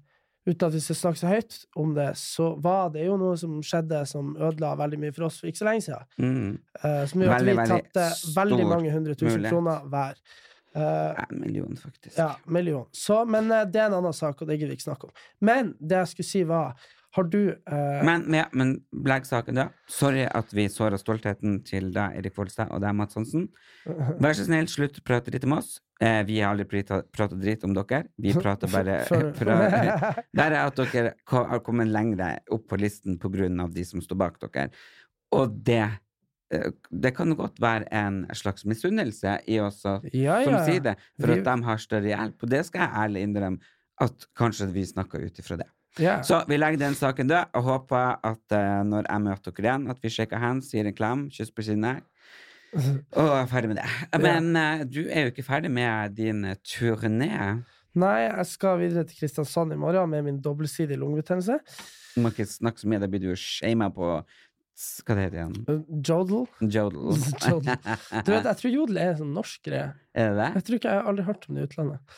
Speaker 2: uten at vi skal snakke så høyt om det, så var det jo noe som skjedde som ødela veldig mye for oss for ikke så lenge siden.
Speaker 1: Mm.
Speaker 2: Eh, som gjør at
Speaker 1: Veldig,
Speaker 2: vi
Speaker 1: veldig
Speaker 2: tapte veldig
Speaker 1: stor
Speaker 2: mange hundre tusen
Speaker 1: mulighet.
Speaker 2: kroner hver. Eh,
Speaker 1: En million, faktisk.
Speaker 2: ja, million. Så, men eh, det er en annen sak, og det gidder vi ikke snakke om. Men det jeg skulle si, var Har du eh,
Speaker 1: Men, men, ja, men Blegg-saken, da. Sorry at vi såra stoltheten til deg, Erik Folstad, og deg, Mads Hansen. Vær så snill, slutt å prate dritt om oss. Eh, vi har aldri prita- prata dritt om dere. Vi prater bare
Speaker 2: Sorry.
Speaker 1: pra- Der er at dere ko- har kommet lengre opp på listen på grunn av de som står bak dere. Og det eh, det kan godt være en slags misunnelse i oss at-
Speaker 2: Ja,
Speaker 1: som
Speaker 2: ja.
Speaker 1: sier det, for
Speaker 2: Vi-
Speaker 1: at de har større hjelp. Og det skal jeg ærlig innrømme, at kanskje vi snakker ut ifra det.
Speaker 2: Ja.
Speaker 1: Så vi legger den saken død, og håper at eh, når jeg møter dere igjen, at vi shaker hands, gir en klem, kyss på kinnet, og er ferdig med det. Men eh, du er jo ikke ferdig med din eh, turné.
Speaker 2: Nei, jeg skal videre til Kristiansand i morgen med min dobbeltsidige lungebetennelse.
Speaker 1: Du må ikke snakke så mye, da blir du jo shama på s- Hva det heter det igjen?
Speaker 2: Eh, Jodel.
Speaker 1: Jodel.
Speaker 2: Jodel. Du vet, jeg tror jodel er en sånn norsk greie.
Speaker 1: Er det det?
Speaker 2: Jeg tror ikke jeg har aldri hørt om det i utlandet.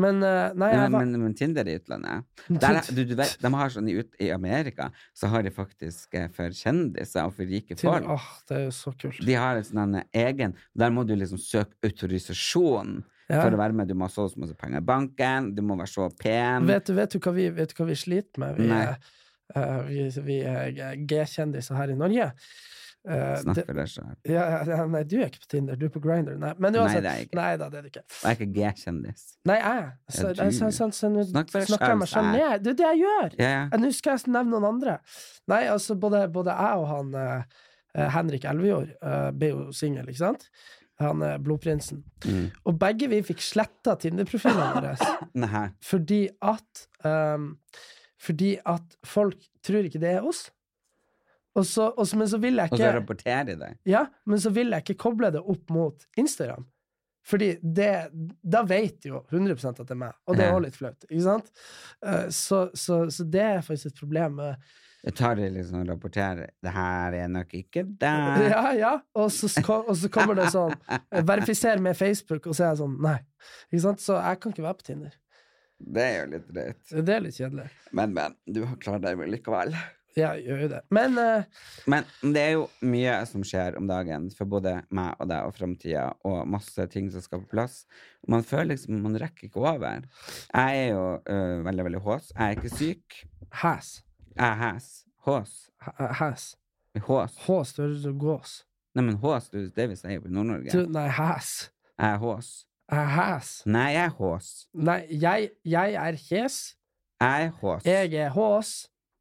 Speaker 2: Men eh, nei, jeg
Speaker 1: Men,
Speaker 2: var
Speaker 1: men, men Tinder i utlandet Der, er- du, du vet, De har sånn i, ut, i Amerika, så har de faktisk eh, for kjendiser og for rike
Speaker 2: til,
Speaker 1: folk.
Speaker 2: Åh, det er jo så kult.
Speaker 1: De har en sånn en egen Der må du liksom søke autorisasjon
Speaker 2: Ja.
Speaker 1: for å være med. Du må ha så og så masse penger i banken, du må være så pen.
Speaker 2: Vet, du- vet, du hva vi, vet du hva vi sliter med? Vi,
Speaker 1: Nei.
Speaker 2: er- eh, vi, vi er G-kjendiser her i Norge. Eh,
Speaker 1: Snakk
Speaker 2: det,
Speaker 1: for deg sjøl.
Speaker 2: ja, ja, nei, du er ikke på Tinder, du er på Grindr. Nei, men
Speaker 1: Nei,
Speaker 2: uansett.
Speaker 1: det er jeg ikke.
Speaker 2: Nei da, det er du ikke.
Speaker 1: Jeg er ikke G-kjendis.
Speaker 2: Nei, jeg. Så,
Speaker 1: Ja, du.
Speaker 2: jeg, så, så, så, nå
Speaker 1: Snakk for deg
Speaker 2: snakker jeg meg
Speaker 1: selv,
Speaker 2: selv
Speaker 1: jeg.
Speaker 2: ned. Det er det jeg gjør!
Speaker 1: Ja, ja.
Speaker 2: Eh, Nå skal jeg nevne noen andre. Nei, altså, både, både jeg og han eh, eh, Henrik Elvejord eh, ble jo singel, ikke sant? Han er blodprinsen.
Speaker 1: Mm.
Speaker 2: Og begge vi fikk sletta Tinder-profilene våre
Speaker 1: Nei.
Speaker 2: fordi at ehm, Fordi at folk tror ikke det er oss. Og så, og så, men så vil jeg
Speaker 1: Og så
Speaker 2: ikke
Speaker 1: rapporterer de det.
Speaker 2: ja, men så vil jeg ikke koble det opp mot Instagram. Fordi det, da vet jo 100 at det er meg, og det er
Speaker 1: Ja.
Speaker 2: også litt flaut. ikke sant? Eh, Så, så, så det er faktisk et problem. eh, med-
Speaker 1: Jeg tar det liksom og rapporterer. Det her er nok ikke deg.
Speaker 2: Ja, ja, og så, sko- og så kommer det sånn eh, 'Verifiser med Facebook', og så er jeg sånn Nei. ikke sant? Så jeg kan ikke være på Tinder.
Speaker 1: Det er jo litt drøyt.
Speaker 2: Det er litt kjedelig.
Speaker 1: Men, men. Du har klart deg vel likevel.
Speaker 2: Jeg gjør jo det. Men eh,
Speaker 1: Men det er jo mye som skjer om dagen for både meg og deg og framtida, og masse ting som skal på plass. Man føler liksom man rekker ikke over. Jeg er jo øh, veldig, veldig hås. Jeg er ikke syk.
Speaker 2: hæs.
Speaker 1: Jeg er hæs. Hås.
Speaker 2: Hæ- Hæs.
Speaker 1: Hås.
Speaker 2: H størrelse og gås.
Speaker 1: Nei, men hås, det er jo det vi sier på Nord-Norge.
Speaker 2: Du, nei, hæs.
Speaker 1: Jeg er hås.
Speaker 2: Jeg er hæs.
Speaker 1: Nei, jeg er hås.
Speaker 2: Nei, jeg, jeg er hes.
Speaker 1: Jeg er hås.
Speaker 2: Jeg er hås.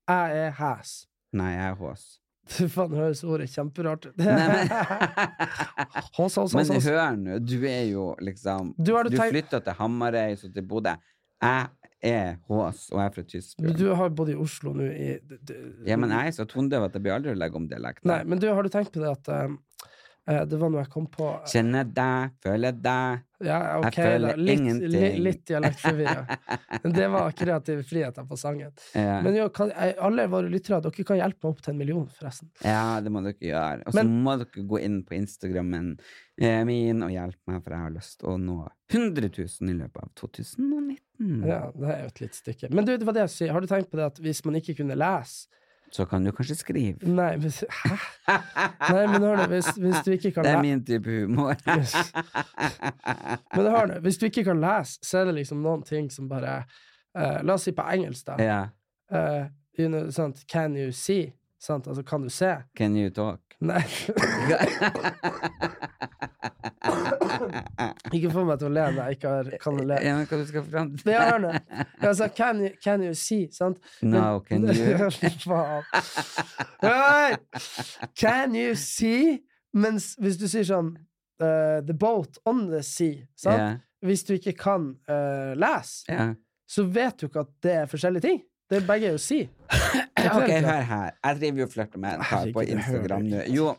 Speaker 2: Jeg er hæs.
Speaker 1: Nei, jeg er hås.
Speaker 2: Fy faen, høres ordet kjemperart ut.
Speaker 1: Nei, men
Speaker 2: Hås, hås,
Speaker 1: men
Speaker 2: hås. hås.
Speaker 1: hør nå, du er jo liksom Du,
Speaker 2: Sånn, Du har det teg-
Speaker 1: flytta til Hamarøy, så til Bodø. Jeg er hås, og jeg er fra Tyskland.
Speaker 2: Men Du har bodd i Oslo nå i d- d-
Speaker 1: Ja, men jeg er så tondøv at jeg blir aldri å legge om dialekt.
Speaker 2: Mm. Nei, men du, har du tenkt på det at um, eh, Det var noe jeg kom på
Speaker 1: Kjenner deg, føler deg.
Speaker 2: Ja, ok,
Speaker 1: Jeg
Speaker 2: da.
Speaker 1: føler
Speaker 2: Litt,
Speaker 1: ingenting.
Speaker 2: li, litt dialektforvirra. Men det var kreative friheter på sangen.
Speaker 1: Eh,
Speaker 2: Men jo, kan, eh, alle våre lyttere, dere kan hjelpe meg opp til en million, forresten.
Speaker 1: ja, det må dere gjøre. Og så
Speaker 2: Men-
Speaker 1: må dere gå inn på Instagrammen eh, min og hjelpe meg, for jeg har lyst til å nå 100 000 i løpet av 2019.
Speaker 2: Ja, det er jo et lite stykke. Men du, det var det jeg sier. Har du tenkt på det at hvis man ikke kunne lese
Speaker 1: Så kan du kanskje skrive.
Speaker 2: Nei, men Hæ? Nei, men hør nå, hvis, hvis du ikke kan
Speaker 1: Det er
Speaker 2: lese
Speaker 1: min type humor.
Speaker 2: Men hør nå, hvis du ikke kan lese, så er det liksom noen ting som bare eh, La oss si på engelsk, da.
Speaker 1: ja.
Speaker 2: Eh, you know, sant? Can you see? Sant? Altså, kan du se?
Speaker 1: Can you talk?
Speaker 2: Nei. ikke få meg til å le når jeg ikke har, kan le.
Speaker 1: Ja, men hva du skal fram til?
Speaker 2: Men jeg hører det. Altså, can, you- can you see, sant?
Speaker 1: No, can you?
Speaker 2: Faen. Hei! Can you see? Mens hvis du sier sånn eh, The boat on the sea, sant?
Speaker 1: Ja,
Speaker 2: Hvis du ikke kan eh, lese,
Speaker 1: ja.
Speaker 2: så vet du ikke at det er forskjellige ting. Det er begge er jo si.
Speaker 1: Ok, hør her. Jeg driver jo og flørter med en kar på
Speaker 2: Herregud, jeg hører
Speaker 1: Instagram nå.
Speaker 2: det.
Speaker 1: Jo.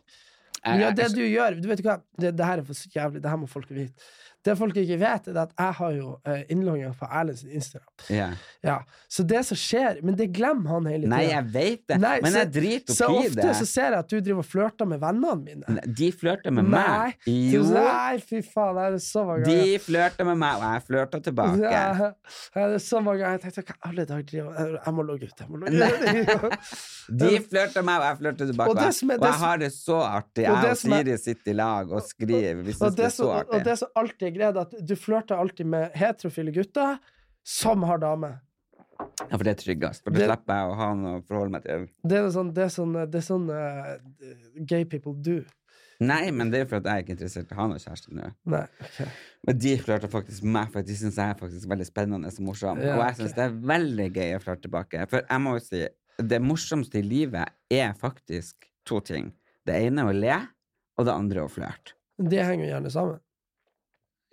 Speaker 2: Ja, det du gjør Du vet ikke hva, det, det her er for så jævlig, det her må folk vite. Det folk ikke vet, er at jeg har jo eh, innlogget på Erlend sin Instagram.
Speaker 1: Ja.
Speaker 2: Ja. Så det som skjer Men det glemmer han hele tiden.
Speaker 1: Nei, jeg vet det,
Speaker 2: Nei,
Speaker 1: men
Speaker 2: så-
Speaker 1: jeg driter
Speaker 2: Så
Speaker 1: opp i
Speaker 2: ofte
Speaker 1: det.
Speaker 2: så ser jeg at du driver og flørter med vennene mine.
Speaker 1: Nei, De flørter med meg.
Speaker 2: Jo. Nei, fy faen. Jeg er det så mange
Speaker 1: De flørter med meg, og jeg flørter tilbake.
Speaker 2: Ja, jeg hadde så mange ganger jeg tenkte hva alle dager driver jeg- Jeg må logge ut. Jeg må logge ut.
Speaker 1: De flørter meg, og jeg flørter tilbake.
Speaker 2: Og det som
Speaker 1: og
Speaker 2: er- det
Speaker 1: jeg
Speaker 2: som-
Speaker 1: har det så artig.
Speaker 2: Og
Speaker 1: Jeg
Speaker 2: det
Speaker 1: og
Speaker 2: som er-
Speaker 1: Siri sitter i lag og skriver. Vi
Speaker 2: og,
Speaker 1: syns det
Speaker 2: det
Speaker 1: er så
Speaker 2: som, og
Speaker 1: artig.
Speaker 2: det som alltid er greia, er at du flørter alltid med heterofile gutter som har dame.
Speaker 1: Ja, for det er tryggest. For da
Speaker 2: Det-
Speaker 1: slipper jeg å ha noe å forholde meg til.
Speaker 2: Det er sånn, det er sånn, det er sånn eh, gay people do.
Speaker 1: Nei, men det er for at jeg er ikke interessert i å ha noe kjæreste nå.
Speaker 2: Nei, ok.
Speaker 1: Men de flørter faktisk meg, for de syns jeg er faktisk veldig spennende og morsom.
Speaker 2: Ja,
Speaker 1: og jeg
Speaker 2: ok.
Speaker 1: syns det er veldig gøy å flørte tilbake. For jeg må jo si, det morsomste i livet er faktisk to ting. Det ene er å le, og det andre er å flørte.
Speaker 2: Det henger jo gjerne sammen.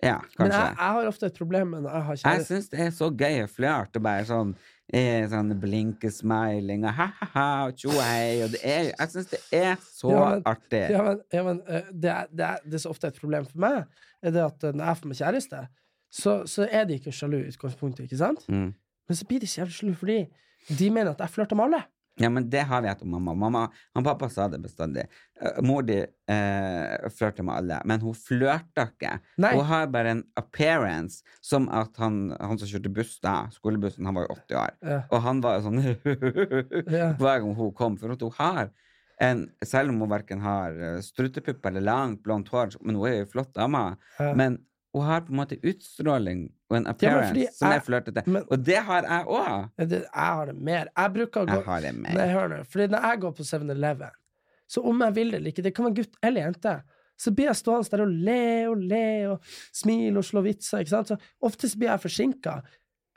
Speaker 1: Ja,
Speaker 2: Men
Speaker 1: kanskje.
Speaker 2: jeg, jeg har ofte et problem med når jeg har
Speaker 1: Jeg
Speaker 2: kjæreste.
Speaker 1: syns det er så gøy å flørte og bare sånn, eh, sånn blinkesmiling og ha-ha-ha og tjo og hei. Og det er, jo- jeg syns det er så
Speaker 2: Ja, men-
Speaker 1: artig.
Speaker 2: Ja, men, ja, men eh, det, er, det, er, det er så ofte et problem for meg, er det at eh, når jeg får meg kjæreste, så, så er de ikke sjalu i utgangspunktet, ikke sant?
Speaker 1: Mm.
Speaker 2: Men så blir de så jævlig sjalu fordi de mener at jeg flørter med alle.
Speaker 1: Ja, men det har vi hatt om mamma. mamma han pappa sa det bestandig. Eh, Mor di eh, flørter med alle, men hun flørter ikke.
Speaker 2: Nei.
Speaker 1: Hun har bare en appearance som at han, han som kjørte buss da, skolebussen, han var jo 80 år,
Speaker 2: Ja.
Speaker 1: og han var jo sånn
Speaker 2: Ja.
Speaker 1: hver gang hun kom, for at hun har en, selv om hun verken har eh, strutepupper eller langt, blondt hår, men hun er jo en flott dame,
Speaker 2: Ja.
Speaker 1: men hun har på en måte utstråling og en appearance
Speaker 2: fordi
Speaker 1: som
Speaker 2: jeg-
Speaker 1: er flørtete.
Speaker 2: men-
Speaker 1: Og det har jeg òg.
Speaker 2: Eh, Det, jeg har det mer. Jeg bruker å gå
Speaker 1: Jeg har det med.
Speaker 2: Nei, hør nå. Fordi når jeg går på 7-Eleven, så om jeg vil det eller ikke, det kan være gutt eller jente, så blir jeg stående der og le og le og smile og slå vitser. ikke sant? Så ofte så blir jeg forsinka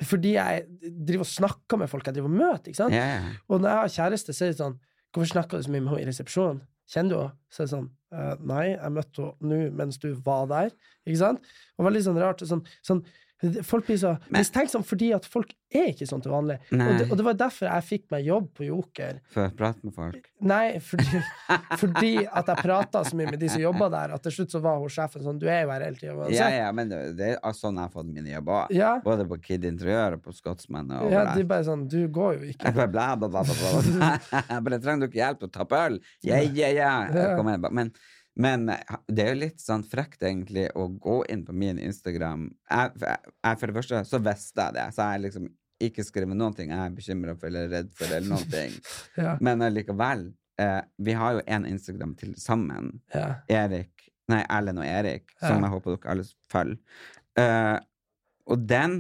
Speaker 2: fordi jeg driver og snakker med folk jeg driver og møter. ikke sant?
Speaker 1: Ja, ja.
Speaker 2: Og når jeg har kjæreste, så er det sånn Hvorfor snakker du så mye med henne i resepsjonen? Kjenner du henne? Så er det sånn «Eh, Nei, jeg møtte henne nå mens du var der. Ikke sant? Og veldig sånn rart. og Sånn, sånn, folk blir så
Speaker 1: Men-
Speaker 2: mistenksomme fordi at folk er ikke sånn til vanlig. Og
Speaker 1: Nei.
Speaker 2: det, og det var derfor jeg fikk meg jobb på Joker.
Speaker 1: For å prate med folk.
Speaker 2: Nei, fordi, fordi at jeg prata så mye med de som jobba der, at til slutt så var hun sjefen sånn Du er jo her hele tida
Speaker 1: Ja,
Speaker 2: uansett.
Speaker 1: ja, men det, det er altså sånn jeg har fått mine jobber.
Speaker 2: Ja.
Speaker 1: Både på Kid Interiør og på Scotsman. Og
Speaker 2: Ja,
Speaker 1: overalt.
Speaker 2: de bare sånn Du går jo ikke.
Speaker 1: Jeg bare bla, bla, bla, bla, bla. bla. Bare trenger du ikke hjelp til å tappe øl? Ja, ja, ja. Jeg kommer bak. Men, men det er jo litt sånn frekt, egentlig, å gå inn på min Instagram. Jeg, jeg, jeg- for det første så visste jeg det, så jeg liksom ikke skrevet noen ting jeg er bekymra for eller redd for, eller noen ting.
Speaker 2: Ja.
Speaker 1: Men allikevel. Eh, vi har jo én Instagram til sammen.
Speaker 2: Ja.
Speaker 1: Erik, nei, Erlend og Erik, som
Speaker 2: Ja.
Speaker 1: jeg håper dere alle følger. Eh, og den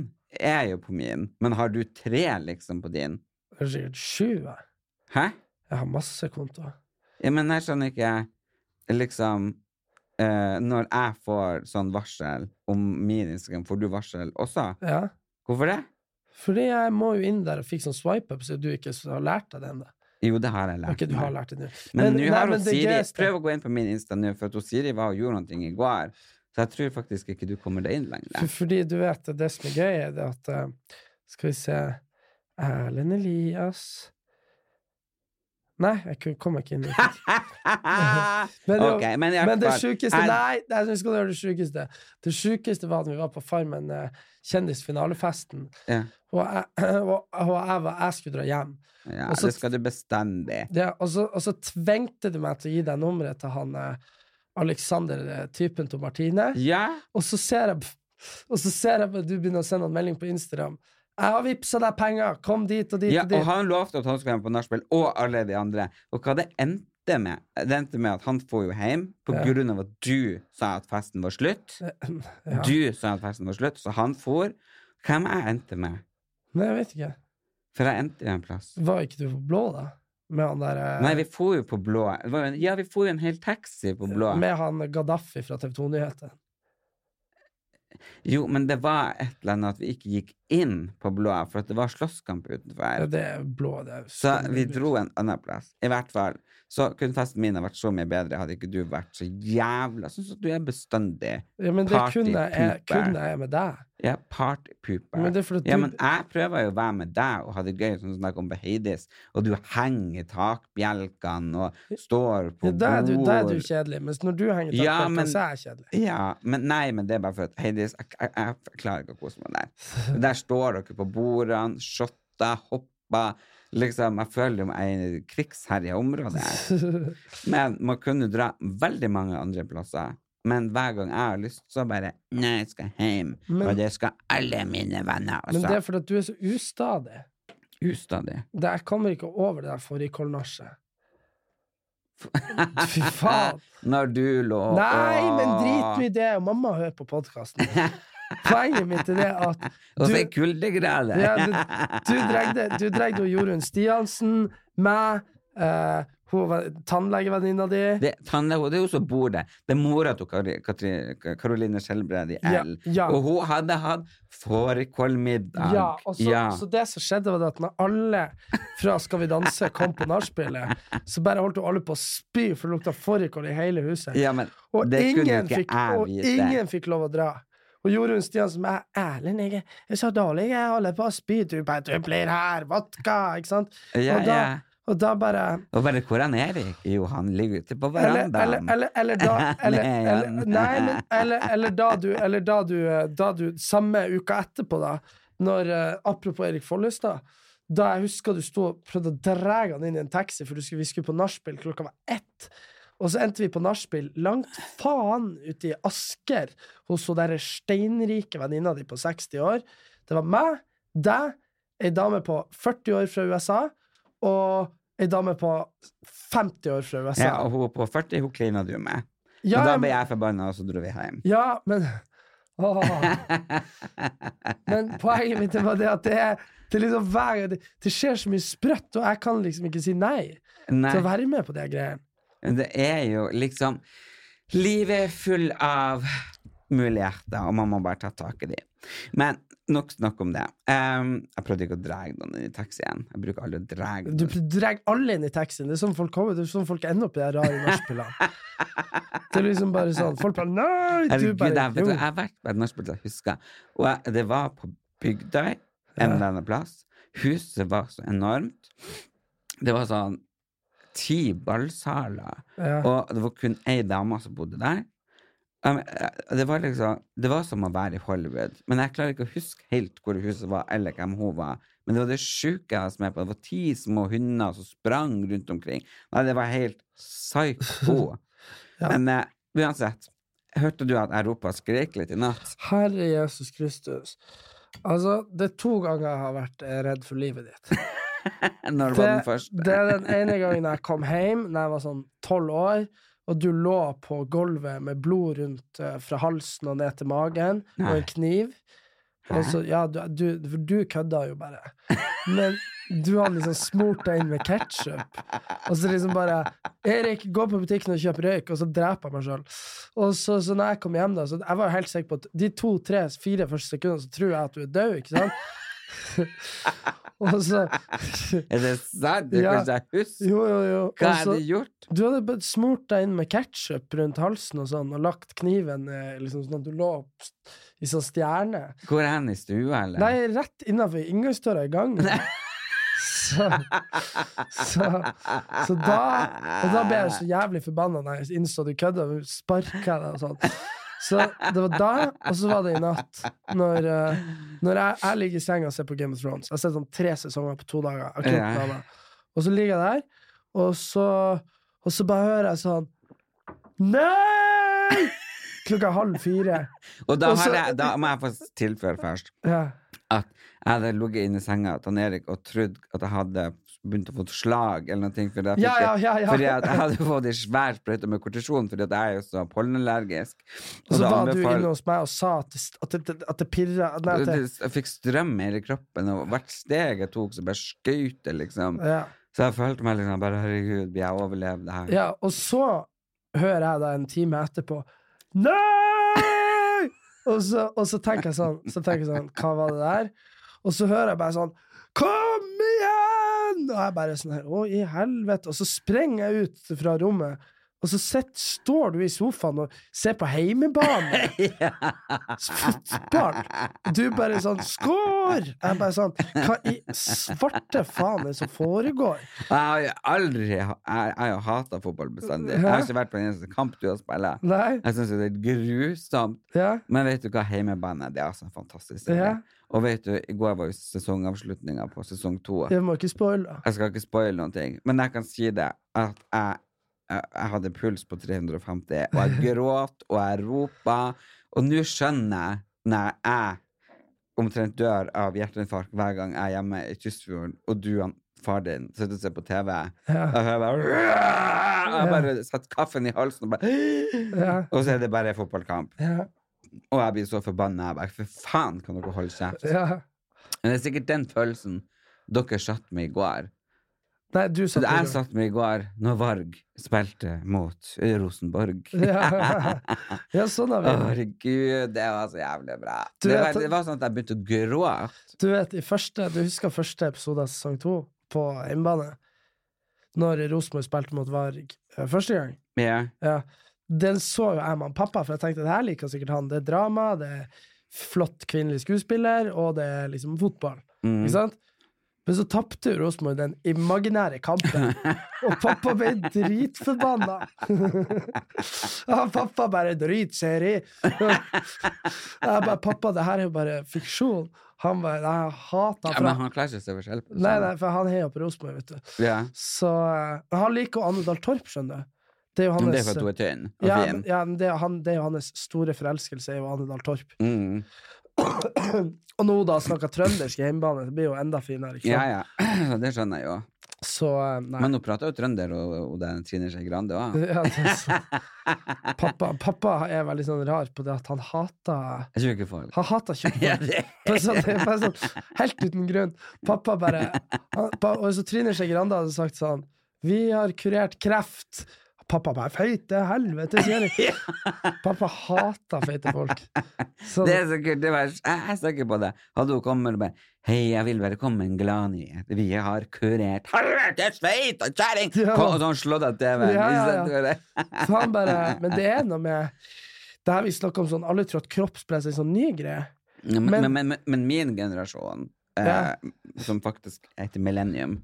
Speaker 1: er jo på min, men har du tre liksom på din?
Speaker 2: Det er sikkert sju, jeg.
Speaker 1: Hæ?
Speaker 2: Jeg har masse kontoer.
Speaker 1: Ja, men jeg skjønner ikke liksom eh, Når jeg får sånn varsel om min Instagram, får du varsel også?
Speaker 2: Ja.
Speaker 1: Hvorfor det?
Speaker 2: Fordi jeg må jo inn der og fikk sånn swipe-up, så du ikke så har lært deg det ennå.
Speaker 1: Jo, det har jeg lært.
Speaker 2: Ok, du har
Speaker 1: meg.
Speaker 2: lært det nå.
Speaker 1: Men
Speaker 2: nei,
Speaker 1: nå har hun
Speaker 2: men det
Speaker 1: Siri
Speaker 2: gøyeste-
Speaker 1: Prøv å gå inn på min Insta nå, for at hun Siri var og gjorde noe i går. Så jeg tror faktisk ikke du kommer deg inn
Speaker 2: For,
Speaker 1: lenger.
Speaker 2: fordi du vet, det som er gøy, er det at eh, Skal vi se Erlend Elias Nei, jeg kun- kom ikke inn. i det. Men, det-
Speaker 1: Ok, men i hvert
Speaker 2: men det
Speaker 1: fall,
Speaker 2: sjukeste
Speaker 1: jeg-
Speaker 2: Nei, nei, jeg skal høre det sjukeste. Det sjukeste var at vi var på Farmen eh, kjendisfinalefesten,
Speaker 1: Ja.
Speaker 2: og jeg, og, og jeg, var, jeg skulle dra hjem.
Speaker 1: Ja,
Speaker 2: Og så-
Speaker 1: det skal du bestandig.
Speaker 2: Ja, og, så, og så tvengte du meg til å gi deg nummeret til han eh, Alexander, eh, typen til Martine.
Speaker 1: Ja,
Speaker 2: Og så ser jeg Og så ser jeg at du begynner å sende en melding på Instagram. 'Jeg har vippsa deg penger! Kom dit og dit
Speaker 1: ja
Speaker 2: og
Speaker 1: og
Speaker 2: dit!'
Speaker 1: han lovte at han skulle være med på nachspiel, og alle de andre. Og hva det endte med? Det endte med at han får jo hjem på
Speaker 2: Ja.
Speaker 1: grunn av at du sa at festen var slutt.
Speaker 2: Ja.
Speaker 1: Du sa at festen var slutt, så han for. Hvem jeg endte med?
Speaker 2: Nei, jeg vet ikke.
Speaker 1: For jeg endte jo en plass.
Speaker 2: Var ikke du på blå, da? Med han der eh,
Speaker 1: Nei, vi for jo på blå. Det var jo en, ja, vi for jo en hel taxi på blå.
Speaker 2: Med han Gaddafi fra TV 2-nyhetene.
Speaker 1: Jo, men det var et eller annet at vi ikke gikk inn på blå, for at det var slåsskamp utenfor.
Speaker 2: Ja, det er blå, det er
Speaker 1: Så vi dro en annen plass. I hvert fall. Så kunne festen min ha vært så mye bedre hadde ikke du vært så jævla Sånn som du er bestandig.
Speaker 2: ja, Men det
Speaker 1: party
Speaker 2: kunne jeg,
Speaker 1: pooper.
Speaker 2: kunne jeg med deg.
Speaker 1: Jeg er partypooper.
Speaker 2: Men det er fordi at
Speaker 1: ja,
Speaker 2: du-
Speaker 1: men jeg prøver jo å være med deg og ha det gøy, sånn som jeg kom på Heidis, og du henger i takbjelkene og står på
Speaker 2: Ja, da, er du, da er du
Speaker 1: bord.
Speaker 2: kjedelig, mens når du henger
Speaker 1: Ja,
Speaker 2: takbjelker,
Speaker 1: men-
Speaker 2: så er jeg kjedelig.
Speaker 1: Ja, men nei, men det er bare for at Heidis, jeg, jeg, jeg klarer ikke å kose meg der. Der står dere på bordene, shotter, hopper. Liksom, jeg føler jo meg i et krigsherja område her. Men man kunne dra veldig mange andre plasser. Men hver gang jeg har lyst, så bare Nei, jeg skal hjem.
Speaker 2: Men-
Speaker 1: og det skal alle mine venner
Speaker 2: Men det
Speaker 1: også.
Speaker 2: er fordi at du er så ustadig.
Speaker 1: Ustadig.
Speaker 2: Det, jeg kommer ikke over det der fårikålnasjet. Fy faen!
Speaker 1: Når du lå
Speaker 2: Nei,
Speaker 1: og-
Speaker 2: men drit nå i det, og mamma hører på podkasten. Poenget mitt er det at
Speaker 1: Og så
Speaker 2: du-
Speaker 1: er kuldegrader!
Speaker 2: Ja, du, du dregde, du dregde jo Jorunn Stiansen, meg, eh, hun var tannlegevenninna di.
Speaker 1: Det, tannlege, det er hun som bor der. Det er mora til Kari- Katri- Ka- Karoline Skjelbred i
Speaker 2: Ja,
Speaker 1: L.
Speaker 2: ja.
Speaker 1: Og hun hadde hatt fårikålmiddag.
Speaker 2: Ja, og så,
Speaker 1: Ja.
Speaker 2: så det som skjedde, var det at når alle fra Skal vi danse kom på nachspielet, så bare holdt jo alle på å spy, for det lukta fårikål i hele huset.
Speaker 1: Ja, men
Speaker 2: Og,
Speaker 1: det kunne
Speaker 2: ingen
Speaker 1: ikke
Speaker 2: fikk,
Speaker 1: jeg
Speaker 2: og
Speaker 1: vite.
Speaker 2: ingen fikk lov å dra. Og Jorunn Stiansen bare 'Erlend, jeg, er- jeg er så dårlig, jeg holder på å spy.' Du bare 'Du blir her, vodka!' Ikke sant?
Speaker 1: Ja,
Speaker 2: og, da,
Speaker 1: ja.
Speaker 2: og da bare
Speaker 1: Og bare hvor han Erik? Jo, han ligger ute på
Speaker 2: eller, eller,
Speaker 1: verandaen.
Speaker 2: eller, eller da eller,
Speaker 1: Nei,
Speaker 2: eller,
Speaker 1: han-
Speaker 2: Nei, men eller, eller da du Eller da du, eh, da du Samme uka etterpå, da, når eh, Apropos Erik Follestad. Da jeg husker du sto og prøvde å dra han inn i en taxi, for du skulle, vi skulle på nachspiel. Klokka var ett. Og så endte vi på nachspiel langt faen ute i Asker hos hun derre steinrike venninna di på 60 år. Det var meg, deg, ei dame på 40 år fra USA og ei dame på 50 år fra USA.
Speaker 1: ja, og Altså, hun på 40, hun klina du med.
Speaker 2: Ja,
Speaker 1: og da
Speaker 2: jeg-
Speaker 1: ble jeg forbanna, og så dro vi hjem.
Speaker 2: Ja, men Åh. Men poenget mitt var det at det er, det er liksom hver gang det, det skjer så mye sprøtt, og jeg kan liksom ikke si nei
Speaker 1: Nei,
Speaker 2: til å være med på de greiene.
Speaker 1: det er jo liksom Livet er full av muligheter, og man må bare ta tak i de. Men nok snakk om det. Ehm, jeg prøvde ikke å dra noen inn i taxien. Jeg bruker aldri å dra noen.
Speaker 2: Du drar alle inn i taxien. Det er sånn folk kommer, det er sånn folk ender opp i de rare nachspielene. Det er liksom bare sånn Folk bare Nei! Du
Speaker 1: Herregud, jeg,
Speaker 2: bare
Speaker 1: vet du,
Speaker 2: jo.
Speaker 1: jeg har vært på et nachspiel, jeg husker. Og jeg, det var på Bygdøy, en eller annen plass. Huset var så enormt. Det var sånn ti ballsaler,
Speaker 2: Ja.
Speaker 1: og det var kun ei dame som bodde der. Ja, men, eh, Det var liksom Det var som å være i Hollywood, men jeg klarer ikke å huske helt hvor huset var, eller hvem hun var. Men det var det sjuke jeg var med på. Det var ti små hunder som sprang rundt omkring. Nei, det var helt psyko. Men eh, uansett, hørte du at jeg ropa og skrek litt i natt?
Speaker 2: Herre Jesus Kristus. Altså, det er to ganger jeg har vært eh, redd for livet ditt.
Speaker 1: Når var den
Speaker 2: det,
Speaker 1: første?
Speaker 2: det er den ene gangen jeg kom hjem da jeg var sånn tolv år, og du lå på gulvet med blod rundt eh, fra halsen og ned til magen, og en kniv. Og så, ja, du, du, for du kødda jo bare. Men du hadde liksom smurt deg inn med ketsjup. Og så liksom bare 'Erik, gå på butikken og kjøp røyk', og så dreper jeg meg sjøl. Og så, så når jeg kom hjem, da, så jeg var jo helt sikker på at de to-tre-fire første sekundene så tror jeg at du er død, ikke sant? og så
Speaker 1: Er det sant? Det
Speaker 2: Ja.
Speaker 1: kan ikke jeg huske.
Speaker 2: Jo, altså- jo, jo.
Speaker 1: Hva
Speaker 2: Og
Speaker 1: har
Speaker 2: så-
Speaker 1: jeg gjort?
Speaker 2: du hadde bare smurt deg inn med ketsjup rundt halsen og sånn, og lagt kniven eh, liksom sånn at du lå st- i sånn stjerne.
Speaker 1: Hvor er han i stua, eller?
Speaker 2: Nei, rett innafor inngangsdøra i gangen. Så, så, så da Og da ble jeg så jævlig forbanna når jeg innså du kødda, og sparka deg og sånn. Så det var da, og så var det i natt. Når, eh, når jeg, jeg ligger i senga og ser på Game of Thrones. Jeg har sett sånn tre sesonger på to dager. Jeg har ikke gjort noe annet. Og så ligger jeg der, og så, og så bare hører jeg sånn Nei! Klokka halv fire.
Speaker 1: Og da,
Speaker 2: Og så-
Speaker 1: har jeg, da må jeg få tilføre først
Speaker 2: Ja.
Speaker 1: at jeg hadde ligget inne i senga til Erik og trodd at jeg hadde begynt å få et slag eller noe. Fordi, jeg fikk-
Speaker 2: Ja, ja, ja, ja.
Speaker 1: fordi at jeg hadde fått ei svær sprøyte med kortisjon fordi at jeg er jo så pollenallergisk.
Speaker 2: Og så
Speaker 1: da
Speaker 2: var du
Speaker 1: anbefal-
Speaker 2: inne hos meg og sa at det, at det, at det pirra Nei, at det,
Speaker 1: Jeg fikk strøm i hele kroppen, og hvert steg jeg tok, så bare skjøt det, liksom.
Speaker 2: ja.
Speaker 1: Så jeg følte meg liksom bare Herregud, vil jeg overleve det her?
Speaker 2: ja. Og så hører jeg da en time etterpå Nei! Og så, og så tenker jeg sånn, så tenker jeg sånn Hva var det der? Og så hører jeg bare sånn Kom igjen! Og jeg bare sånn her Å, i helvete. Og så sprenger jeg ut fra rommet. Og så sitt- står du i sofaen og ser på heimebane. Fotball! Du bare sånn 'Skår!' Jeg bare sånn Hva i svarte faen er det som foregår?
Speaker 1: Jeg har jo aldri Jeg, jeg har jo hata fotball bestandig. Jeg har ikke vært på en eneste kamp du har spilt.
Speaker 2: Nei?
Speaker 1: Jeg syns det er grusomt.
Speaker 2: Ja?
Speaker 1: Men vet du hva, heimebane det er altså en fantastisk serie.
Speaker 2: Ja.
Speaker 1: Og vet du, i går var jo sesongavslutninga på sesong to.
Speaker 2: Jeg må ikke spoile.
Speaker 1: Jeg skal ikke spoile noen ting, men jeg kan si det at jeg, jeg, jeg hadde puls på 350, og jeg gråt, og jeg ropa, og nå skjønner jeg når jeg omtrent dør av hjerteinfarkt hver gang jeg er hjemme i Tysfjorden, og du, han, far din, sitter og ser på TV, og
Speaker 2: Ja.
Speaker 1: jeg bare Jeg bare setter kaffen i halsen og bare
Speaker 2: Ja.
Speaker 1: Og så er det bare fotballkamp.
Speaker 2: Ja.
Speaker 1: Og jeg blir så forbanna. Jeg bare, For faen, kan dere holde kjeft?
Speaker 2: ja.
Speaker 1: Men det er sikkert den følelsen dere satt med i går.
Speaker 2: Nei, du
Speaker 1: Så
Speaker 2: satt
Speaker 1: jeg
Speaker 2: i gang.
Speaker 1: satt med i går når Varg spilte mot eh, Rosenborg.
Speaker 2: Ja. ja, sånn
Speaker 1: Å,
Speaker 2: har vi det.
Speaker 1: Herregud, det var så jævlig bra.
Speaker 2: Du
Speaker 1: det,
Speaker 2: vet-
Speaker 1: var, det var sånn at jeg begynte å gråte.
Speaker 2: Du vet, i første, du husker første episode av sesong to på hjemmebane? Når Rosenborg spilte mot Varg eh, første gang?
Speaker 1: Ja.
Speaker 2: Ja. Den så jo jeg med han pappa, for jeg tenkte det her liker sikkert han. Det er drama, det er flott kvinnelig skuespiller, og det er liksom fotball.
Speaker 1: Mm.
Speaker 2: Ikke sant? Men så tapte jo Rosenborg den imaginære kampen, og pappa ble dritforbanna. Ja, pappa bare 'dritseri'. Jeg bare 'pappa, det her er jo bare fiksjon'. Han bare 'nei, jeg hater
Speaker 1: Ja,
Speaker 2: han
Speaker 1: men
Speaker 2: fra
Speaker 1: han klarer ikke å se forskjell på det.
Speaker 2: Nei,
Speaker 1: sånn.
Speaker 2: nei, for han heier på Rosenborg, vet du.
Speaker 1: Ja.
Speaker 2: Så eh, men Han liker jo Anne Dahl Torp, skjønner du. Det er jo
Speaker 1: Men det er
Speaker 2: hans
Speaker 1: for at du er tynn og
Speaker 2: ja,
Speaker 1: fin.
Speaker 2: men- ja, men det, er han, det er jo hans store forelskelse, er jo Anne Dahl Torp.
Speaker 1: Mm.
Speaker 2: Og nå da snakker trøndersk i hjemmebane, det blir jo enda finere. Ikke sant?
Speaker 1: Ja, ja. Det skjønner jeg jo.
Speaker 2: Så eh, nei.
Speaker 1: Men hun prater jo trønder, og, og det er Trine Skei Grande òg.
Speaker 2: Ja, det er så- pappa, pappa er veldig sånn rar på det at han hater
Speaker 1: Jeg tror ikke folk
Speaker 2: Han hater
Speaker 1: ja,
Speaker 2: kjøttboller.
Speaker 1: det.
Speaker 2: Bare sånn, det er bare sånn, helt uten grunn. Pappa bare han, pa, Og så Trine Skei Grande hadde sagt sånn Vi har kurert kreft. Pappa bare Feite helvete, sier de. Pappa hater feite folk. Sånn,
Speaker 1: Det er så kult. Det var, jeg er sikker på det. Hadde hun kommet og bare Hei, jeg vil være kommet en glad nyhet. Vi har kurert helvetes feit og kjerring!
Speaker 2: Ja.
Speaker 1: Kom, Og så han slått av TV-en.
Speaker 2: Ja, ja, ja.
Speaker 1: Ikke sant, det var det?
Speaker 2: så han bare Men det er noe med det her vi snakker om sånn, Alle tror at kroppspress er en sånn ny greie.
Speaker 1: Ja, Men,
Speaker 2: Men-
Speaker 1: men, men, men, min generasjon, eh,
Speaker 2: Ja.
Speaker 1: som faktisk heter millennium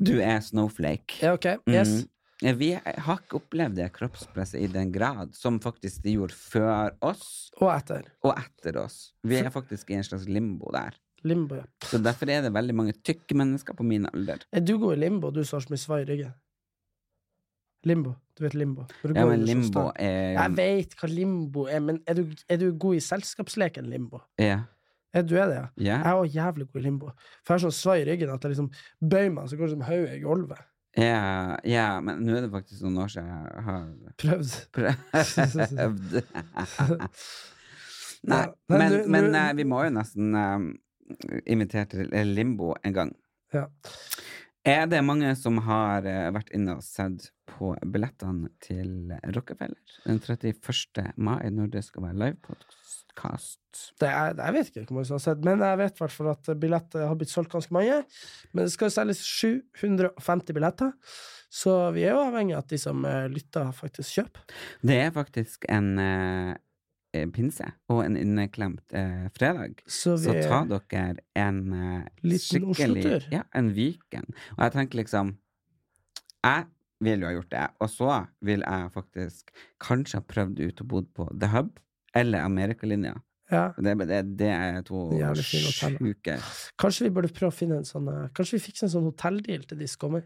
Speaker 1: Du er snowflake.
Speaker 2: Ja, OK? Yes.
Speaker 1: Mm. Ja, Vi har ikke opplevd det kroppspresset i den grad som faktisk de gjorde før oss
Speaker 2: Og etter.
Speaker 1: og etter oss. Vi er faktisk i en slags limbo der.
Speaker 2: Limbo, ja.
Speaker 1: Så derfor er det veldig mange tykke mennesker på min alder.
Speaker 2: Er du god i limbo, du som har så mye svai i ryggen? Limbo. Du vet limbo. Når du
Speaker 1: Ja, men
Speaker 2: går under sånn
Speaker 1: limbo
Speaker 2: stang. Jeg
Speaker 1: er
Speaker 2: veit hva limbo er, men er du, er du god i selskapsleken limbo?
Speaker 1: Ja.
Speaker 2: Er du er det, ja?
Speaker 1: Ja.
Speaker 2: Jeg er òg jævlig god i limbo. For jeg har sånn svai i ryggen at jeg liksom bøyer meg, så går det som hodet i gulvet.
Speaker 1: Ja, ja, men nå er det faktisk noen år siden jeg har
Speaker 2: Prøvd.
Speaker 1: prøvd. Nei,
Speaker 2: Ja, men
Speaker 1: men,
Speaker 2: du-
Speaker 1: men
Speaker 2: du-
Speaker 1: eh, vi må jo nesten eh, invitere til limbo en gang.
Speaker 2: Ja.
Speaker 1: Er det mange som har eh, vært inne og sett på billettene til Rockefeller den 31. mai, når det skal være livepodkast?
Speaker 2: Det er, jeg vet ikke hvor mange som har sett, men jeg vet i hvert fall at billetter har blitt solgt ganske mange. Men det skal jo selges 750 billetter, så vi er jo avhengig av at de som eh, lytter, faktisk kjøper.
Speaker 1: Det er faktisk en eh, eh, pinse og en inneklemt eh, fredag.
Speaker 2: Så, vi,
Speaker 1: Så ta dere en eh,
Speaker 2: Liten
Speaker 1: skikkelig
Speaker 2: Oslo-tur.
Speaker 1: Ja, en Viken. Og jeg tenker liksom Jeg vil jo ha gjort det, og så vil jeg faktisk kanskje ha prøvd ut og bodd på The Hub eller Amerikalinja.
Speaker 2: ja.
Speaker 1: Det, det, det er to
Speaker 2: Jævlig fine hoteller.
Speaker 1: sjuke
Speaker 2: Kanskje vi burde prøve å finne en sånn eh, Kanskje vi fikser en sånn hotelldeal til de som kommer.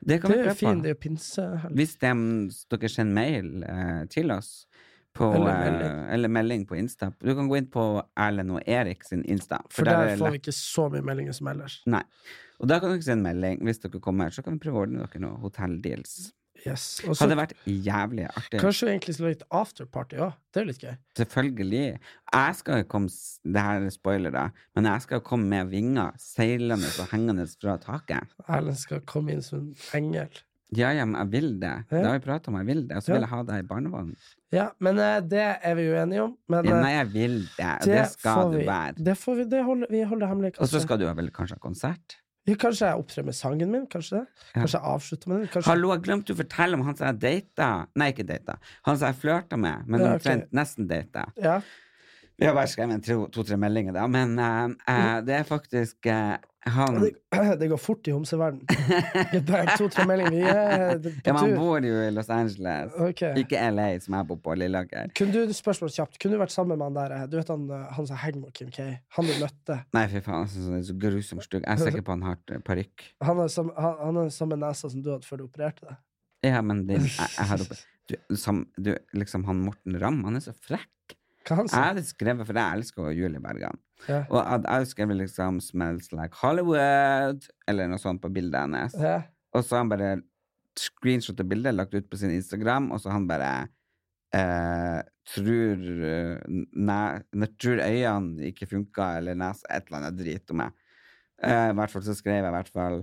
Speaker 1: Det kan
Speaker 2: Det
Speaker 1: vi
Speaker 2: er jo
Speaker 1: prøve
Speaker 2: fint,
Speaker 1: på.
Speaker 2: det er jo pinsehelg.
Speaker 1: Hvis de, dere sender mail eh, til oss på,
Speaker 2: Eller
Speaker 1: eller,
Speaker 2: melding.
Speaker 1: melding. eller melding på Insta Du kan gå inn på Erlend og Erik sin Insta.
Speaker 2: For
Speaker 1: er
Speaker 2: der
Speaker 1: det
Speaker 2: får
Speaker 1: lett-
Speaker 2: vi ikke så mye meldinger som ellers.
Speaker 1: Nei. Og da kan dere sende melding hvis dere kommer, så kan vi prøve å ordne dere noen hotelldeals.
Speaker 2: Yes. Og så
Speaker 1: Hadde vært jævlig artig.
Speaker 2: kanskje vi egentlig skulle ha litt afterparty òg. Det er jo litt gøy.
Speaker 1: Selvfølgelig. Jeg skal jo komme s- Det her er spoilere, men jeg skal jo komme med vinger, seilende og hengende fra taket.
Speaker 2: Erlend skal komme inn som en engel.
Speaker 1: Ja, ja, men jeg vil det. Det har vi pratet om, jeg vil det. Og så vil jeg ha deg i barnevogn.
Speaker 2: Ja, men eh, det er vi uenige om. Men
Speaker 1: Ja,
Speaker 2: eh,
Speaker 1: nei, jeg vil det. og Det skal
Speaker 2: får
Speaker 1: du
Speaker 2: vi.
Speaker 1: være.
Speaker 2: Det får vi, det holder, vi holder hemmelig.
Speaker 1: Og så
Speaker 2: kanskje.
Speaker 1: skal du vel kanskje ha konsert?
Speaker 2: Ja, Kanskje jeg opptrer med sangen min? Kanskje det? Kanskje jeg avslutter med den? Kanskje...
Speaker 1: Hallo, jeg glemte å fortelle om han som jeg data Nei, ikke data. Han som jeg flørta med, men
Speaker 2: Ja, ok.
Speaker 1: omtrent nesten data.
Speaker 2: Ja.
Speaker 1: Vi har bare skrevet to- to-tre meldinger, da. Men eh, eh, det er faktisk eh, han
Speaker 2: Mm. Det, det går fort i homseverden. Det er bare to-tre meldinger. Vi er
Speaker 1: ja,
Speaker 2: på
Speaker 1: men Han
Speaker 2: tur.
Speaker 1: bor jo i Los Angeles,
Speaker 2: Ok.
Speaker 1: ikke LA, som jeg bor på, Lilleaker.
Speaker 2: Kunne du spørsmål kjapt, kunne du vært sammen med han der eh, Du vet han, eh, han som henger med Kim K? Han du møtte?
Speaker 1: Nei, fy faen, jeg synes han er så grusomt stygg. Jeg er sikker på han har t- parykk.
Speaker 2: Han har som- han- han har samme nesa som du hadde før du opererte deg.
Speaker 1: Ja, men det, jeg, jeg har opp... Du, som, du, liksom han Morten Ramm, han er så frekk.
Speaker 2: Hva han
Speaker 1: Jeg
Speaker 2: sa
Speaker 1: hadde skrevet, for jeg elsker jo Julie Bergan.
Speaker 2: Ja.
Speaker 1: Og jeg jeg hadde skrevet liksom 'Smells like Hollywood', eller noe sånt på bildet hennes.
Speaker 2: Ja.
Speaker 1: Og så har han bare screenshot av bildet, lagt ut på sin Instagram, og så han bare eh, tror, eh, næ- nei, tror øynene ikke funka, eller nes, et eller annet drit om meg. Eh, I hvert fall så skrev jeg i hvert fall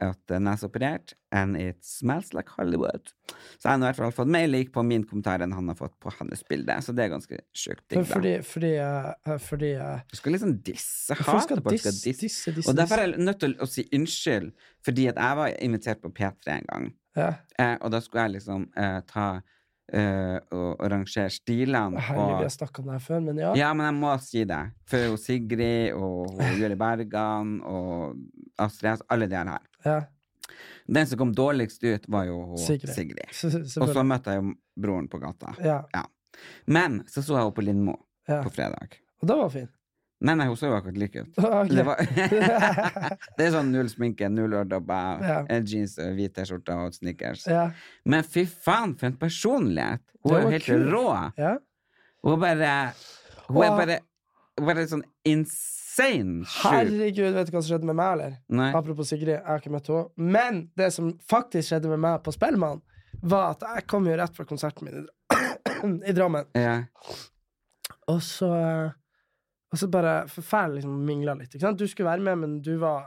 Speaker 1: at den er operert, and it smells like Hollywood. Så jeg har i hvert fall fått mer lik på min kommentar enn han har fått på hans bilde, så det er ganske sjukt
Speaker 2: Men
Speaker 1: digg, da.
Speaker 2: Fordi, fordi, eh, fordi eh,
Speaker 1: Du skal liksom disse. Jeg
Speaker 2: Folk skal
Speaker 1: hater at folk skal
Speaker 2: disse,
Speaker 1: disse.
Speaker 2: disse, disse.
Speaker 1: Og derfor er jeg nødt til å si unnskyld, fordi at jeg var invitert på P3 en gang.
Speaker 2: ja.
Speaker 1: Eh, og da skulle jeg liksom eh, ta eh, og, og rangere stilene
Speaker 2: Herregud, vi
Speaker 1: på
Speaker 2: har snakka om det her før, men ja.
Speaker 1: Ja, men jeg må si det. For jo Sigrid og hun Julie Bergan og Astrid S, alle de her.
Speaker 2: ja.
Speaker 1: Den som kom dårligst ut, var jo hun
Speaker 2: Sigrid.
Speaker 1: Sigrid. Og så
Speaker 2: Selvfølgelig.
Speaker 1: møtte jeg jo broren på gata.
Speaker 2: Ja.
Speaker 1: Men så så jeg henne på Lindmo
Speaker 2: Ja.
Speaker 1: på fredag.
Speaker 2: Og den var fin.
Speaker 1: Nei, nei, hun så jo akkurat lik ut.
Speaker 2: Ok.
Speaker 1: Det, var det er sånn null sminke, null øredobber,
Speaker 2: Ja.
Speaker 1: eh, jeans, eh, hvit T-skjorte og sneakers.
Speaker 2: Ja.
Speaker 1: Men fy faen, for en personlighet! Hun er
Speaker 2: Det var
Speaker 1: jo helt
Speaker 2: kult.
Speaker 1: rå.
Speaker 2: ja.
Speaker 1: Hun er bare Hun er
Speaker 2: Og-
Speaker 1: bare, bare sånn insane sjuk.
Speaker 2: Herregud, vet du hva som skjedde med meg, eller?
Speaker 1: Nei.
Speaker 2: Apropos Sigrid, jeg har ikke møtt henne. Men det som faktisk skjedde med meg på Spellemann, var at jeg kom jo rett fra konserten min i, Dra- i Drammen.
Speaker 1: Ja.
Speaker 2: Og så eh, Og så bare forferdelig liksom mingla litt. Ikke sant? Du skulle være med, men du var,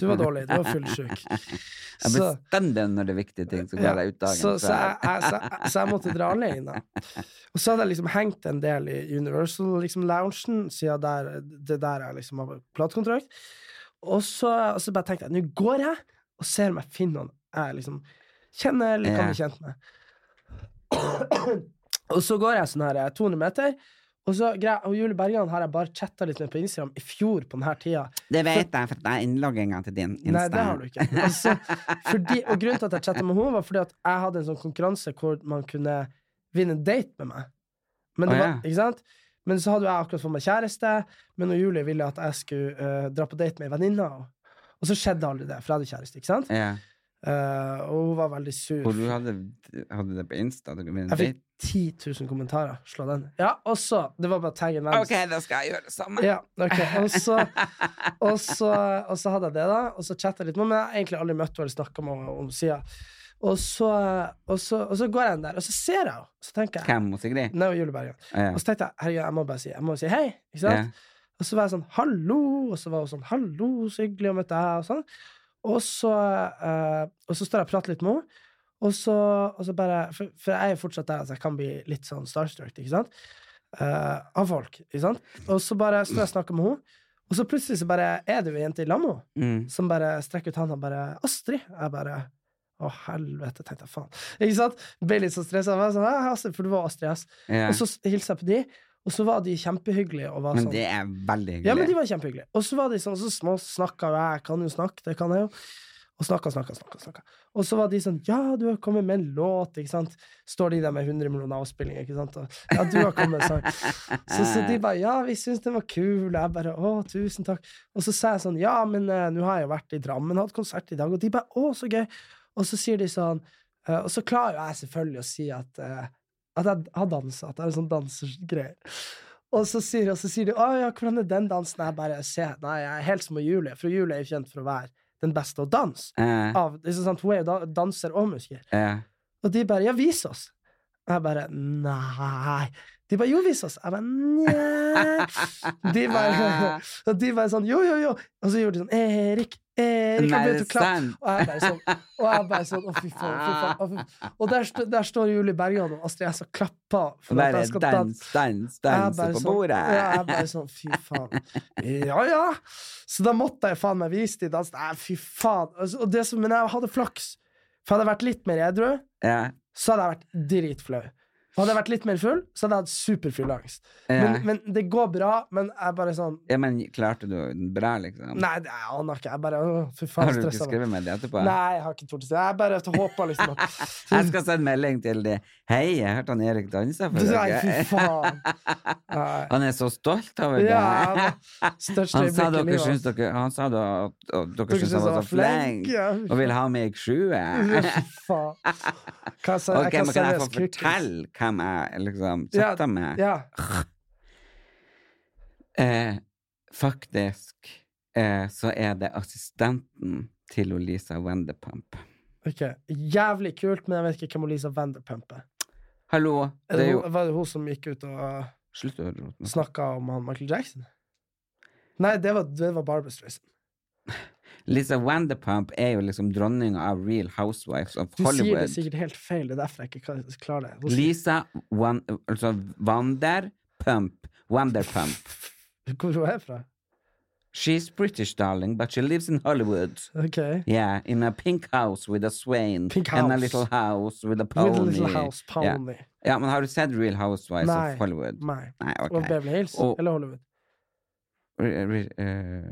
Speaker 2: du var dårlig. Du var fullsjuk.
Speaker 1: Jeg
Speaker 2: Så-
Speaker 1: bestemmer når det er viktige ting som
Speaker 2: ja,
Speaker 1: går deg ut dagen
Speaker 2: så, så, jeg,
Speaker 1: før.
Speaker 2: jeg, så, jeg- så jeg måtte dra alene. Og så hadde jeg liksom hengt en del i Universal-loungen, liksom, loungen, siden der, det der jeg liksom har platekontrakt. Og så, og så bare tenkte jeg nå går jeg og ser om jeg finner noen jeg liksom kjenner eller kan bli
Speaker 1: Ja.
Speaker 2: kjent med. og så går jeg sånn her eh, 200 meter. Og så greier, og Julie Bergan har jeg bare chatta litt med på Instagram i fjor på denne tida.
Speaker 1: Det vet jeg, for det er innlogginga til din Insta.
Speaker 2: Nei, det har du ikke. Altså, fordi, og grunnen til at jeg chatta med henne, var fordi at jeg hadde en sånn konkurranse hvor man kunne vinne en date med meg. Men, det
Speaker 1: Å,
Speaker 2: var,
Speaker 1: ja.
Speaker 2: ikke sant? men så hadde jeg akkurat fått meg kjæreste, men og Julie ville at jeg skulle eh, dra på date med ei venninne. Og, og så skjedde aldri det, for jeg hadde kjæreste. ikke sant?
Speaker 1: Ja.
Speaker 2: Eh, og hun var veldig sur.
Speaker 1: Og du hadde, hadde det på Insta? Du kunne bli en
Speaker 2: Jeg fikk
Speaker 1: date.
Speaker 2: 10 000 kommentarer. Slå den. Ja, og så Det var bare taggen hans.
Speaker 1: Ok, da skal jeg gjøre det samme.
Speaker 2: Ja, ok. Og så, og så, og så hadde jeg det, da. Og så chatta jeg litt med henne, men jeg har egentlig aldri møtt henne eller snakka med henne om sida. Og så, og, så, og så går jeg inn der, og så ser jeg henne. Så tenker jeg
Speaker 1: Hvem og Sigrid?
Speaker 2: Nei, julebergen.
Speaker 1: Ja.
Speaker 2: Og så tenkte jeg herregud, jeg må bare si, jeg må si hei. ikke sant? Og så var jeg sånn hallo, og så var hun sånn hallo, så hyggelig å møte deg, og sånn. Og så, eh, og så står jeg og prater litt med henne, og så, og så bare For, for jeg er jo fortsatt der at jeg kan bli litt sånn starstruck, ikke sant? Eh, av folk, ikke sant? Og så bare står jeg og snakker med henne, og så plutselig så bare er det jo ei jente i lag med henne
Speaker 1: Mm.
Speaker 2: som bare strekker ut handa og bare 'Astrid'. Jeg bare å, helvete, tenkte jeg, faen. Ikke sant? Ble litt så stressa. Sånn, «Hei, Astrid, for det var Astrid S.
Speaker 1: Ja.
Speaker 2: Og så s- hilste jeg på de, og så var de kjempehyggelige. Og var
Speaker 1: Men
Speaker 2: sånn,
Speaker 1: det er veldig hyggelig.
Speaker 2: ja, men de var kjempehyggelige. Og så var de sånn, så små snakka jo jeg, kan jo snakke, det kan jeg jo. Og snakka, snakka, snakka. snakka. Og så var de sånn Ja, du har kommet med en låt, ikke sant? Står de der med 100 millioner avspillinger, ikke sant? Og, ja, du har kommet med en sang. Så, så de bare Ja, vi syns den var kul. Og jeg bare Å, tusen takk. Og så sa jeg sånn Ja, men eh, nå har jeg jo vært i Drammen, hatt konsert i dag. Og de bare Å, så gøy. Og så sier de sånn eh, Og så klarer jo jeg selvfølgelig å si at eh, at jeg har dansa, at jeg har sånn dansegreier. Og så sier, og så sier de 'Å ja, hvordan er den dansen?' Jeg bare ser, Nei, jeg er helt som hun Julie, for Julie er jo kjent for å være den beste å danse.
Speaker 1: Eh,
Speaker 2: Av, det er så sant, hun er jo da- danser og musiker.
Speaker 1: eh,
Speaker 2: Og de bare 'Ja, vis oss'. Og jeg bare 'Nei, De bare 'jo, vis oss'. Jeg bare nja. De bare, og de bare sånn 'jo, jo, jo'. Og så gjorde de sånn 'Erik, Erik'.
Speaker 1: Nei,
Speaker 2: Og
Speaker 1: det
Speaker 2: begynte
Speaker 1: er
Speaker 2: å klappe.
Speaker 1: sant.
Speaker 2: Og jeg bare sånn, og jeg bare sånn å, fy faen. Fy faen å, fy. faen». Og der, sto- der står Julie Bergan og Astrid S og klapper.
Speaker 1: Og
Speaker 2: at
Speaker 1: bare
Speaker 2: jeg skal danse.
Speaker 1: dans, dans,
Speaker 2: Jeg
Speaker 1: danse
Speaker 2: bare
Speaker 1: på
Speaker 2: sånn-
Speaker 1: bordet.
Speaker 2: Ja, jeg bare sånn, fy faen. Ja, ja. Så da måtte jeg faen meg vise de dansen. Nei, fy faen. Altså, Og det som, men jeg hadde flaks. For hadde jeg vært litt mer edru,
Speaker 1: Ja.
Speaker 2: så hadde jeg vært dritflau. Og hadde jeg vært litt mer full, så hadde jeg hatt superfull angst.
Speaker 1: Ja.
Speaker 2: Men, men det går bra, men jeg bare sånn
Speaker 1: ja, men klarte du den bra, liksom?
Speaker 2: Nei, det- jeg aner ikke. Jeg bare å, Fy faen,
Speaker 1: Har du ikke
Speaker 2: stressa meg.
Speaker 1: skrevet med det etterpå?
Speaker 2: Nei, jeg har ikke tort å si det. Jeg bare håper liksom
Speaker 1: Jeg
Speaker 2: at
Speaker 1: skal sende melding til de. Hei, jeg hørte han Erik danse for
Speaker 2: Nei, fy
Speaker 1: dere.
Speaker 2: faen. Nei.
Speaker 1: Han er så stolt over det.
Speaker 2: Ja, han- største
Speaker 1: Han sa
Speaker 2: øyeblikk i
Speaker 1: dere
Speaker 2: livet.
Speaker 1: syns dere, han sa da at, at dere
Speaker 2: Dere
Speaker 1: syns han var så flink
Speaker 2: ja.
Speaker 1: og vil ha meg i sjue.
Speaker 2: Ja, fy faen. Hva sa
Speaker 1: Ok,
Speaker 2: hva
Speaker 1: men
Speaker 2: sa
Speaker 1: kan jeg
Speaker 2: jeg
Speaker 1: få
Speaker 2: skulle-
Speaker 1: fortelle hvem jeg liksom
Speaker 2: Ja,
Speaker 1: satte med?
Speaker 2: Ja.
Speaker 1: Eh, faktisk eh, så er det assistenten til hun Lisa Wenderpump.
Speaker 2: Ok. Jævlig kult, men jeg vet ikke hvem Lisa Vanderpump er.
Speaker 1: Hallo, det
Speaker 2: Er det
Speaker 1: er jo
Speaker 2: hun, var det hun som gikk ut og
Speaker 1: Slutt å rote med
Speaker 2: snakka om han Michael Jackson? Nei, det var, det var Barbra Streisand.
Speaker 1: Lisa Wanderpump er jo liksom dronninga av Real Housewives of
Speaker 2: Du sier det
Speaker 1: Hollywood.
Speaker 2: sikkert helt feil, det er derfor jeg ikke kan- klarer det. Hun sier-
Speaker 1: Lisa Wan, altså Wanderpump. Wanderpump.
Speaker 2: Hvor hun er fra?
Speaker 1: She's British, darling, but she lives in Hollywood.
Speaker 2: Ok.
Speaker 1: Yeah, in a pink house with a swain.
Speaker 2: Pink
Speaker 1: And a
Speaker 2: house.
Speaker 1: little house with a
Speaker 2: With
Speaker 1: pony.
Speaker 2: a Little House
Speaker 1: Ja.
Speaker 2: Pony.
Speaker 1: Ja, men har du sett Real Housewives
Speaker 2: Nei.
Speaker 1: of Hollywood?
Speaker 2: Nei.
Speaker 1: Nei,
Speaker 2: Og
Speaker 1: ok.
Speaker 2: Beverly Hills?
Speaker 1: Og-
Speaker 2: Eller Hollywood?
Speaker 1: Re- re- eh,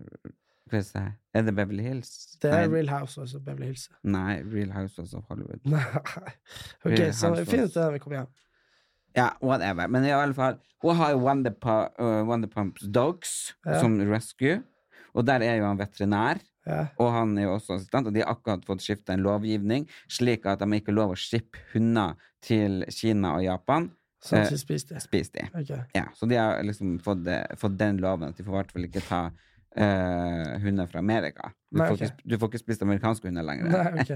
Speaker 1: Hva skal jeg si? Er det Beverly Hills?
Speaker 2: Det er
Speaker 1: Nei,
Speaker 2: Real House, altså. Beverly Hills.
Speaker 1: Nei, Real Housewives of Hollywood.
Speaker 2: Nei. Ok,
Speaker 1: Real
Speaker 2: så
Speaker 1: Housewives.
Speaker 2: finn ut det når vi kommer hjem.
Speaker 1: Ja, whatever. Men i alle fall, hun har jo Wonder, Pu- uh, Wonder Pumps Dogs
Speaker 2: Ja.
Speaker 1: som rescue, og der er jo han veterinær.
Speaker 2: Ja.
Speaker 1: Og han er jo også assistent, og de har akkurat fått skifta en lovgivning, slik at de ikke er lov å shippe hunder til Kina og Japan.
Speaker 2: Så
Speaker 1: Eh,
Speaker 2: ikke spis det.
Speaker 1: Spis de.
Speaker 2: Ok.
Speaker 1: Ja, så de har liksom fått, det- fått den loven at de får i hvert fall ikke ta eh, hunder fra Amerika. Du,
Speaker 2: Nei,
Speaker 1: får
Speaker 2: ok.
Speaker 1: ikke, sp- du får ikke spist amerikanske hunder lenger.
Speaker 2: Nei, ok.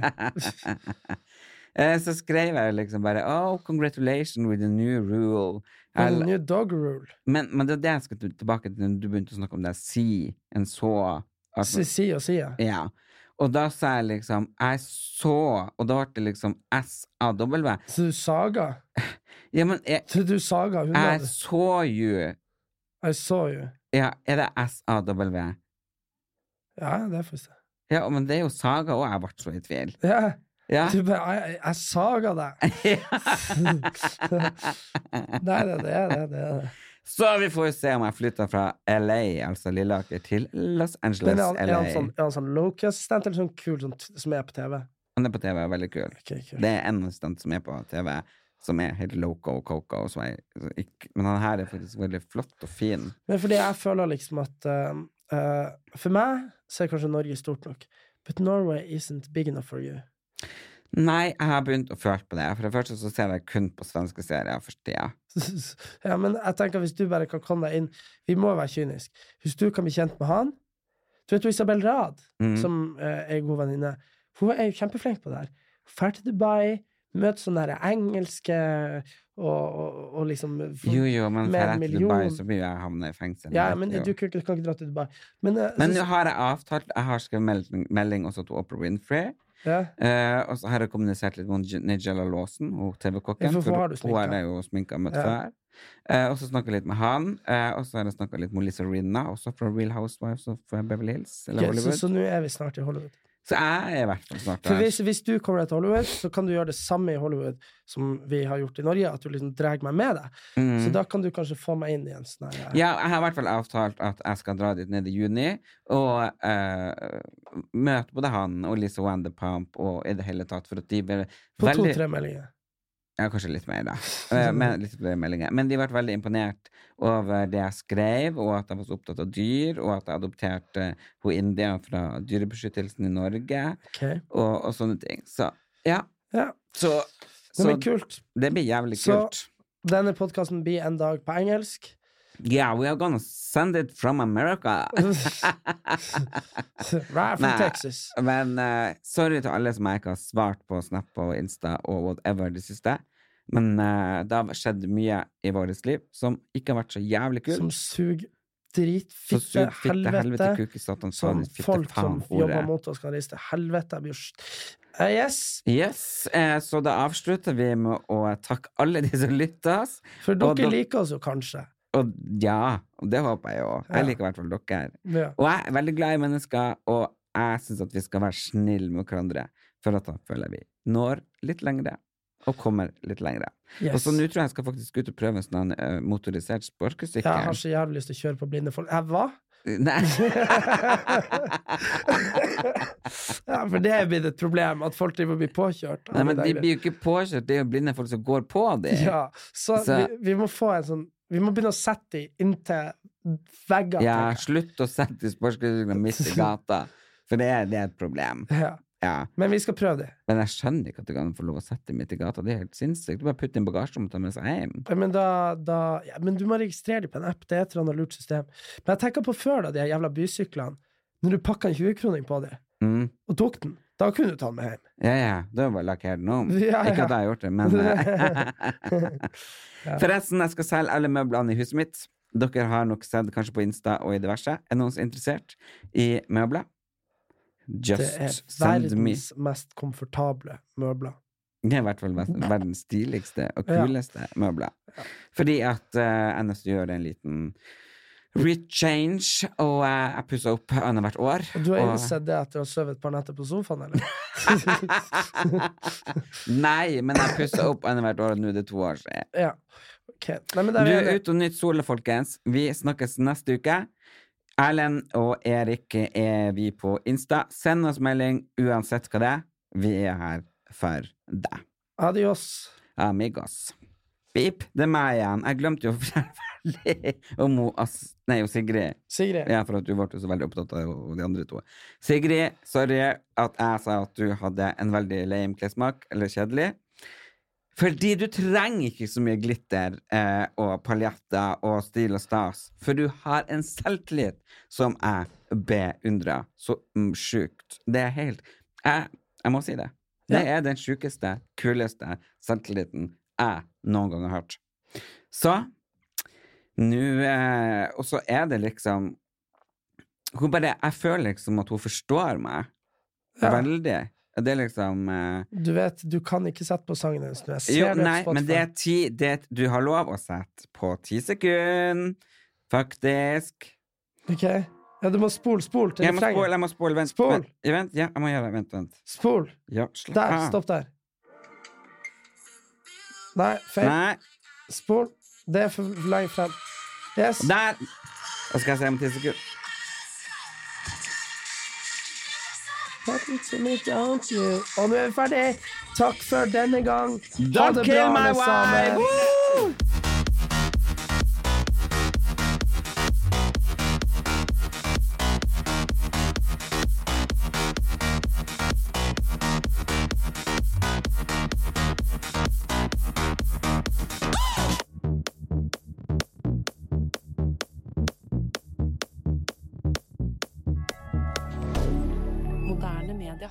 Speaker 1: Eh, Så skrev jeg liksom bare Oh, congratulations with the new rule.
Speaker 2: Men
Speaker 1: Jeg-
Speaker 2: New dog rule.
Speaker 1: Men, men det er det jeg skal til- tilbake til når du begynte å snakke om det. Si en så altså,
Speaker 2: Si, si og si, ja.
Speaker 1: Ja. Og da sa jeg liksom Jeg så Og da ble det liksom S-A-W.
Speaker 2: Så du saga?
Speaker 1: Ja, men jeg,
Speaker 2: Så du saga
Speaker 1: jeg
Speaker 2: hundene?
Speaker 1: så jo
Speaker 2: I saw you.
Speaker 1: Ja, er det S-A-W?
Speaker 2: Ja, det er faktisk det.
Speaker 1: Ja, men det er jo Saga òg. Jeg ble så i tvil.
Speaker 2: Ja.
Speaker 1: Ja.
Speaker 2: Du bare Jeg, jeg, jeg saga deg! Nei, det er det. det, er det.
Speaker 1: Så vi får jo se om jeg flytter fra LA, altså Lilleaker, til Los Angeles,
Speaker 2: Men er han, er
Speaker 1: LA.
Speaker 2: han sånn, er han sånn low-key-assistent eller sånn kul sånn, t- som er på TV?
Speaker 1: Han er på TV, veldig kul.
Speaker 2: Ok, kult.
Speaker 1: Det er en assistent som er på TV, som er helt loco og coco. og som er- som ikke- Men han her er faktisk veldig flott og fin.
Speaker 2: Men fordi jeg føler liksom at eh, eh, For meg så er kanskje Norge stort nok. But Norway isn't big enough for you.
Speaker 1: Nei, jeg har begynt å føle på det. For det første så ser jeg kun på svenske serier for tida.
Speaker 2: Ja, men jeg tenker hvis du bare kan komme deg inn Vi må være kyniske. Hvis du kan bli kjent med han Du vet jo Isabel Rad,
Speaker 1: Mhm.
Speaker 2: som eh, er god venninne, hun er jo kjempeflink på det her. Drar til Dubai, møter sånne her engelske og, og, og liksom
Speaker 1: Jo, jo, men
Speaker 2: Med
Speaker 1: får jeg
Speaker 2: en
Speaker 1: til Dubai,
Speaker 2: million.
Speaker 1: så blir jeg havna i fengsel.
Speaker 2: Ja,
Speaker 1: vet
Speaker 2: men
Speaker 1: du jo.
Speaker 2: du kan, ikke- kan ikke dra til Dubai. Men, eh,
Speaker 1: men
Speaker 2: så-
Speaker 1: nå har jeg avtalt Jeg har skrevet melding, melding også til Oprah Winfrey.
Speaker 2: ja.
Speaker 1: Eh, og så har jeg kommunisert litt med Nigella Lawson, hun
Speaker 2: Ja,
Speaker 1: TV-kokken.
Speaker 2: for hun har du
Speaker 1: hun
Speaker 2: sminka.
Speaker 1: er jo sminka møtt
Speaker 2: Ja.
Speaker 1: før. Eh, og så snakka jeg litt med han. eh, og så har jeg snakka litt med Lisa Rinna, også fra Real Housewives of Beverly Hills. Eller
Speaker 2: Ok, så,
Speaker 1: Hollywood.
Speaker 2: så nå er vi snart i Hollywood.
Speaker 1: Så jeg er i hvert fall snart
Speaker 2: For
Speaker 1: der.
Speaker 2: hvis, hvis du kommer deg til Hollywood, så kan du gjøre det samme i Hollywood som vi har gjort i Norge, at du liksom drar meg med deg.
Speaker 1: Mm.
Speaker 2: Så da kan du kanskje få meg inn i en sånn her
Speaker 1: Ja, jeg har i hvert fall avtalt at jeg skal dra dit ned i juni og eh, møte både han og Lisa Wanderpump og i det hele tatt, for at de ble
Speaker 2: På
Speaker 1: veldig
Speaker 2: to-tre meldinger.
Speaker 1: Ja, kanskje litt mer, da. Eh, Men, litt flere meldinger. Men de ble veldig imponert over det jeg skrev, og at jeg var så opptatt av dyr, og at jeg adopterte eh, hun India fra Dyrebeskyttelsen i Norge,
Speaker 2: Ok.
Speaker 1: og, og sånne ting. Så ja.
Speaker 2: Ja.
Speaker 1: Så,
Speaker 2: Men,
Speaker 1: så
Speaker 2: men kult.
Speaker 1: det blir jævlig
Speaker 2: Så-
Speaker 1: kult.
Speaker 2: Denne podkasten blir en dag på engelsk.
Speaker 1: Yeah, we are gonna send it from America.
Speaker 2: right from
Speaker 1: Nei.
Speaker 2: Texas.
Speaker 1: Men eh, sorry til alle som jeg ikke har svart på Snap og Insta og whatever det siste. Men eh, det har skjedd mye i vårt liv som ikke har vært så jævlig kult.
Speaker 2: Som suger drit,
Speaker 1: Så
Speaker 2: fitte,
Speaker 1: sug fitte,
Speaker 2: helvete.
Speaker 1: helvete, kuk i satan,
Speaker 2: som
Speaker 1: satan, fitte,
Speaker 2: folk
Speaker 1: faen,
Speaker 2: som jobber
Speaker 1: hore.
Speaker 2: mot oss, kan riste. Helvete, jeg blir st- Eh, Yes!
Speaker 1: Yes, eh, så da avslutter vi med å takke alle de som lytter oss.
Speaker 2: For
Speaker 1: Og
Speaker 2: dere
Speaker 1: da-
Speaker 2: liker oss jo kanskje.
Speaker 1: Og ja, og det håper jeg jo.
Speaker 2: Ja.
Speaker 1: Jeg liker i hvert fall dere.
Speaker 2: Ja.
Speaker 1: Og jeg er veldig glad i mennesker, og jeg syns at vi skal være snille med hverandre, for at da føler vi når litt lengre, og kommer litt lengre. Og
Speaker 2: Yes.
Speaker 1: så nå tror jeg jeg skal faktisk ut og prøve en sånn eh, motorisert
Speaker 2: Jeg har
Speaker 1: sparkesykkel.
Speaker 2: så jævlig lyst til å kjøre på blinde folk. Jeg hva?
Speaker 1: Nei.
Speaker 2: ja, for det er blitt et problem, at folk driver og blir påkjørt.
Speaker 1: Nei, men de
Speaker 2: Deilig.
Speaker 1: blir jo ikke påkjørt, det er jo blinde folk som går på dem.
Speaker 2: Ja, så,
Speaker 1: Så-
Speaker 2: Vi, vi må få en sånn Vi må begynne å sette de inntil veggene.
Speaker 1: Ja,
Speaker 2: tenker jeg.
Speaker 1: slutt å sette sparkesyklene midt i gata, for det er, det er et problem.
Speaker 2: ja.
Speaker 1: Ja.
Speaker 2: Men vi skal prøve de.
Speaker 1: Men jeg skjønner ikke at du kan få lov å sette dem midt i gata, det er helt sinnssykt. Du bare putter dem i bagasjerommet og tar med seg hjem.
Speaker 2: Ja, Men, da, da, ja, men du må registrere dem på en app. Det er et eller annet lurt system. Men jeg tenker på før, da, de her jævla bysyklene. Når du pakka en 20-kroning på dem,
Speaker 1: Mm.
Speaker 2: og tok den, da kunne du ta den med hjem.
Speaker 1: Ja, ja, da er det bare å lakkere den om.
Speaker 2: Ja,
Speaker 1: Ikke
Speaker 2: ja.
Speaker 1: at jeg har gjort det, men eh, Forresten, jeg skal selge alle møblene i huset mitt. Dere har nok sett kanskje på Insta og i diverse. Er noen som er interessert i møbler?
Speaker 2: Det er
Speaker 1: Just send me.
Speaker 2: verdens mest komfortable møbler.
Speaker 1: Det er i hvert fall mest- verdens stiligste og
Speaker 2: Ja.
Speaker 1: kuleste møbler. Fordi at eh, NSU gjør en liten rechange, og eh, jeg pusser opp annethvert år.
Speaker 2: Og du har
Speaker 1: og-
Speaker 2: innsett det etter å ha sovet et par netter på sofaen, eller?
Speaker 1: Nei, men jeg pusser opp annethvert år, og nå er det to år siden.
Speaker 2: ja. Ok. Nei, men
Speaker 1: Du
Speaker 2: der er
Speaker 1: er
Speaker 2: vi enige.
Speaker 1: ute og nytt sola, folkens. Vi snakkes neste uke. Erlend og Erik er vi på Insta. Send oss melding uansett hva det er. Vi er her for deg.
Speaker 2: Adios.
Speaker 1: Amigos. Pip, det er meg igjen. Jeg glemte jo forferdelig om hun As- Nei, hun Sigrid.
Speaker 2: Sigrid.
Speaker 1: Ja, for at du ble jo så veldig opptatt av hun- de andre to. Sigrid, sorry at jeg sa at du hadde en veldig lame klessmak, eller kjedelig. Fordi du trenger ikke så mye glitter eh, og paljetter og stil og stas, for du har en selvtillit som jeg beundrer så mm, sjukt. Det er helt Jeg, jeg må si det. Det er den sjukeste, kuleste selvtilliten jeg noen gang har hørt. Så nå eh, Og så er det liksom Hun bare Jeg føler liksom at hun forstår meg veldig. Det er liksom eh,
Speaker 2: Du vet, du kan ikke sette på sangen hennes nå. Jeg ser
Speaker 1: Jo,
Speaker 2: det på
Speaker 1: nei, men det
Speaker 2: Spotify.
Speaker 1: er ti det, er- Du har lov å sette på ti sekunder, faktisk.
Speaker 2: Ok. Ja, du må spole, spole til
Speaker 1: Jeg må spole,
Speaker 2: refrenget.
Speaker 1: jeg må spole. Vent,
Speaker 2: Spol.
Speaker 1: vent, ja, vent. Ja, jeg må gjøre det. Vent, vent.
Speaker 2: Spol.
Speaker 1: Ja, slapp
Speaker 2: Der.
Speaker 1: av.
Speaker 2: Stopp der. Nei, feil.
Speaker 1: Nei,
Speaker 2: Spol. Det er for langt frem. Yes.
Speaker 1: der! Og skal jeg se om ti sekunder.
Speaker 2: Happen to me, don't you? Og nå er vi ferdig. Takk for denne gang. Ha
Speaker 1: Don't
Speaker 2: det
Speaker 1: kill
Speaker 2: bra,
Speaker 1: my
Speaker 2: alle sammen.
Speaker 1: wife! Woo!
Speaker 3: Moderne media.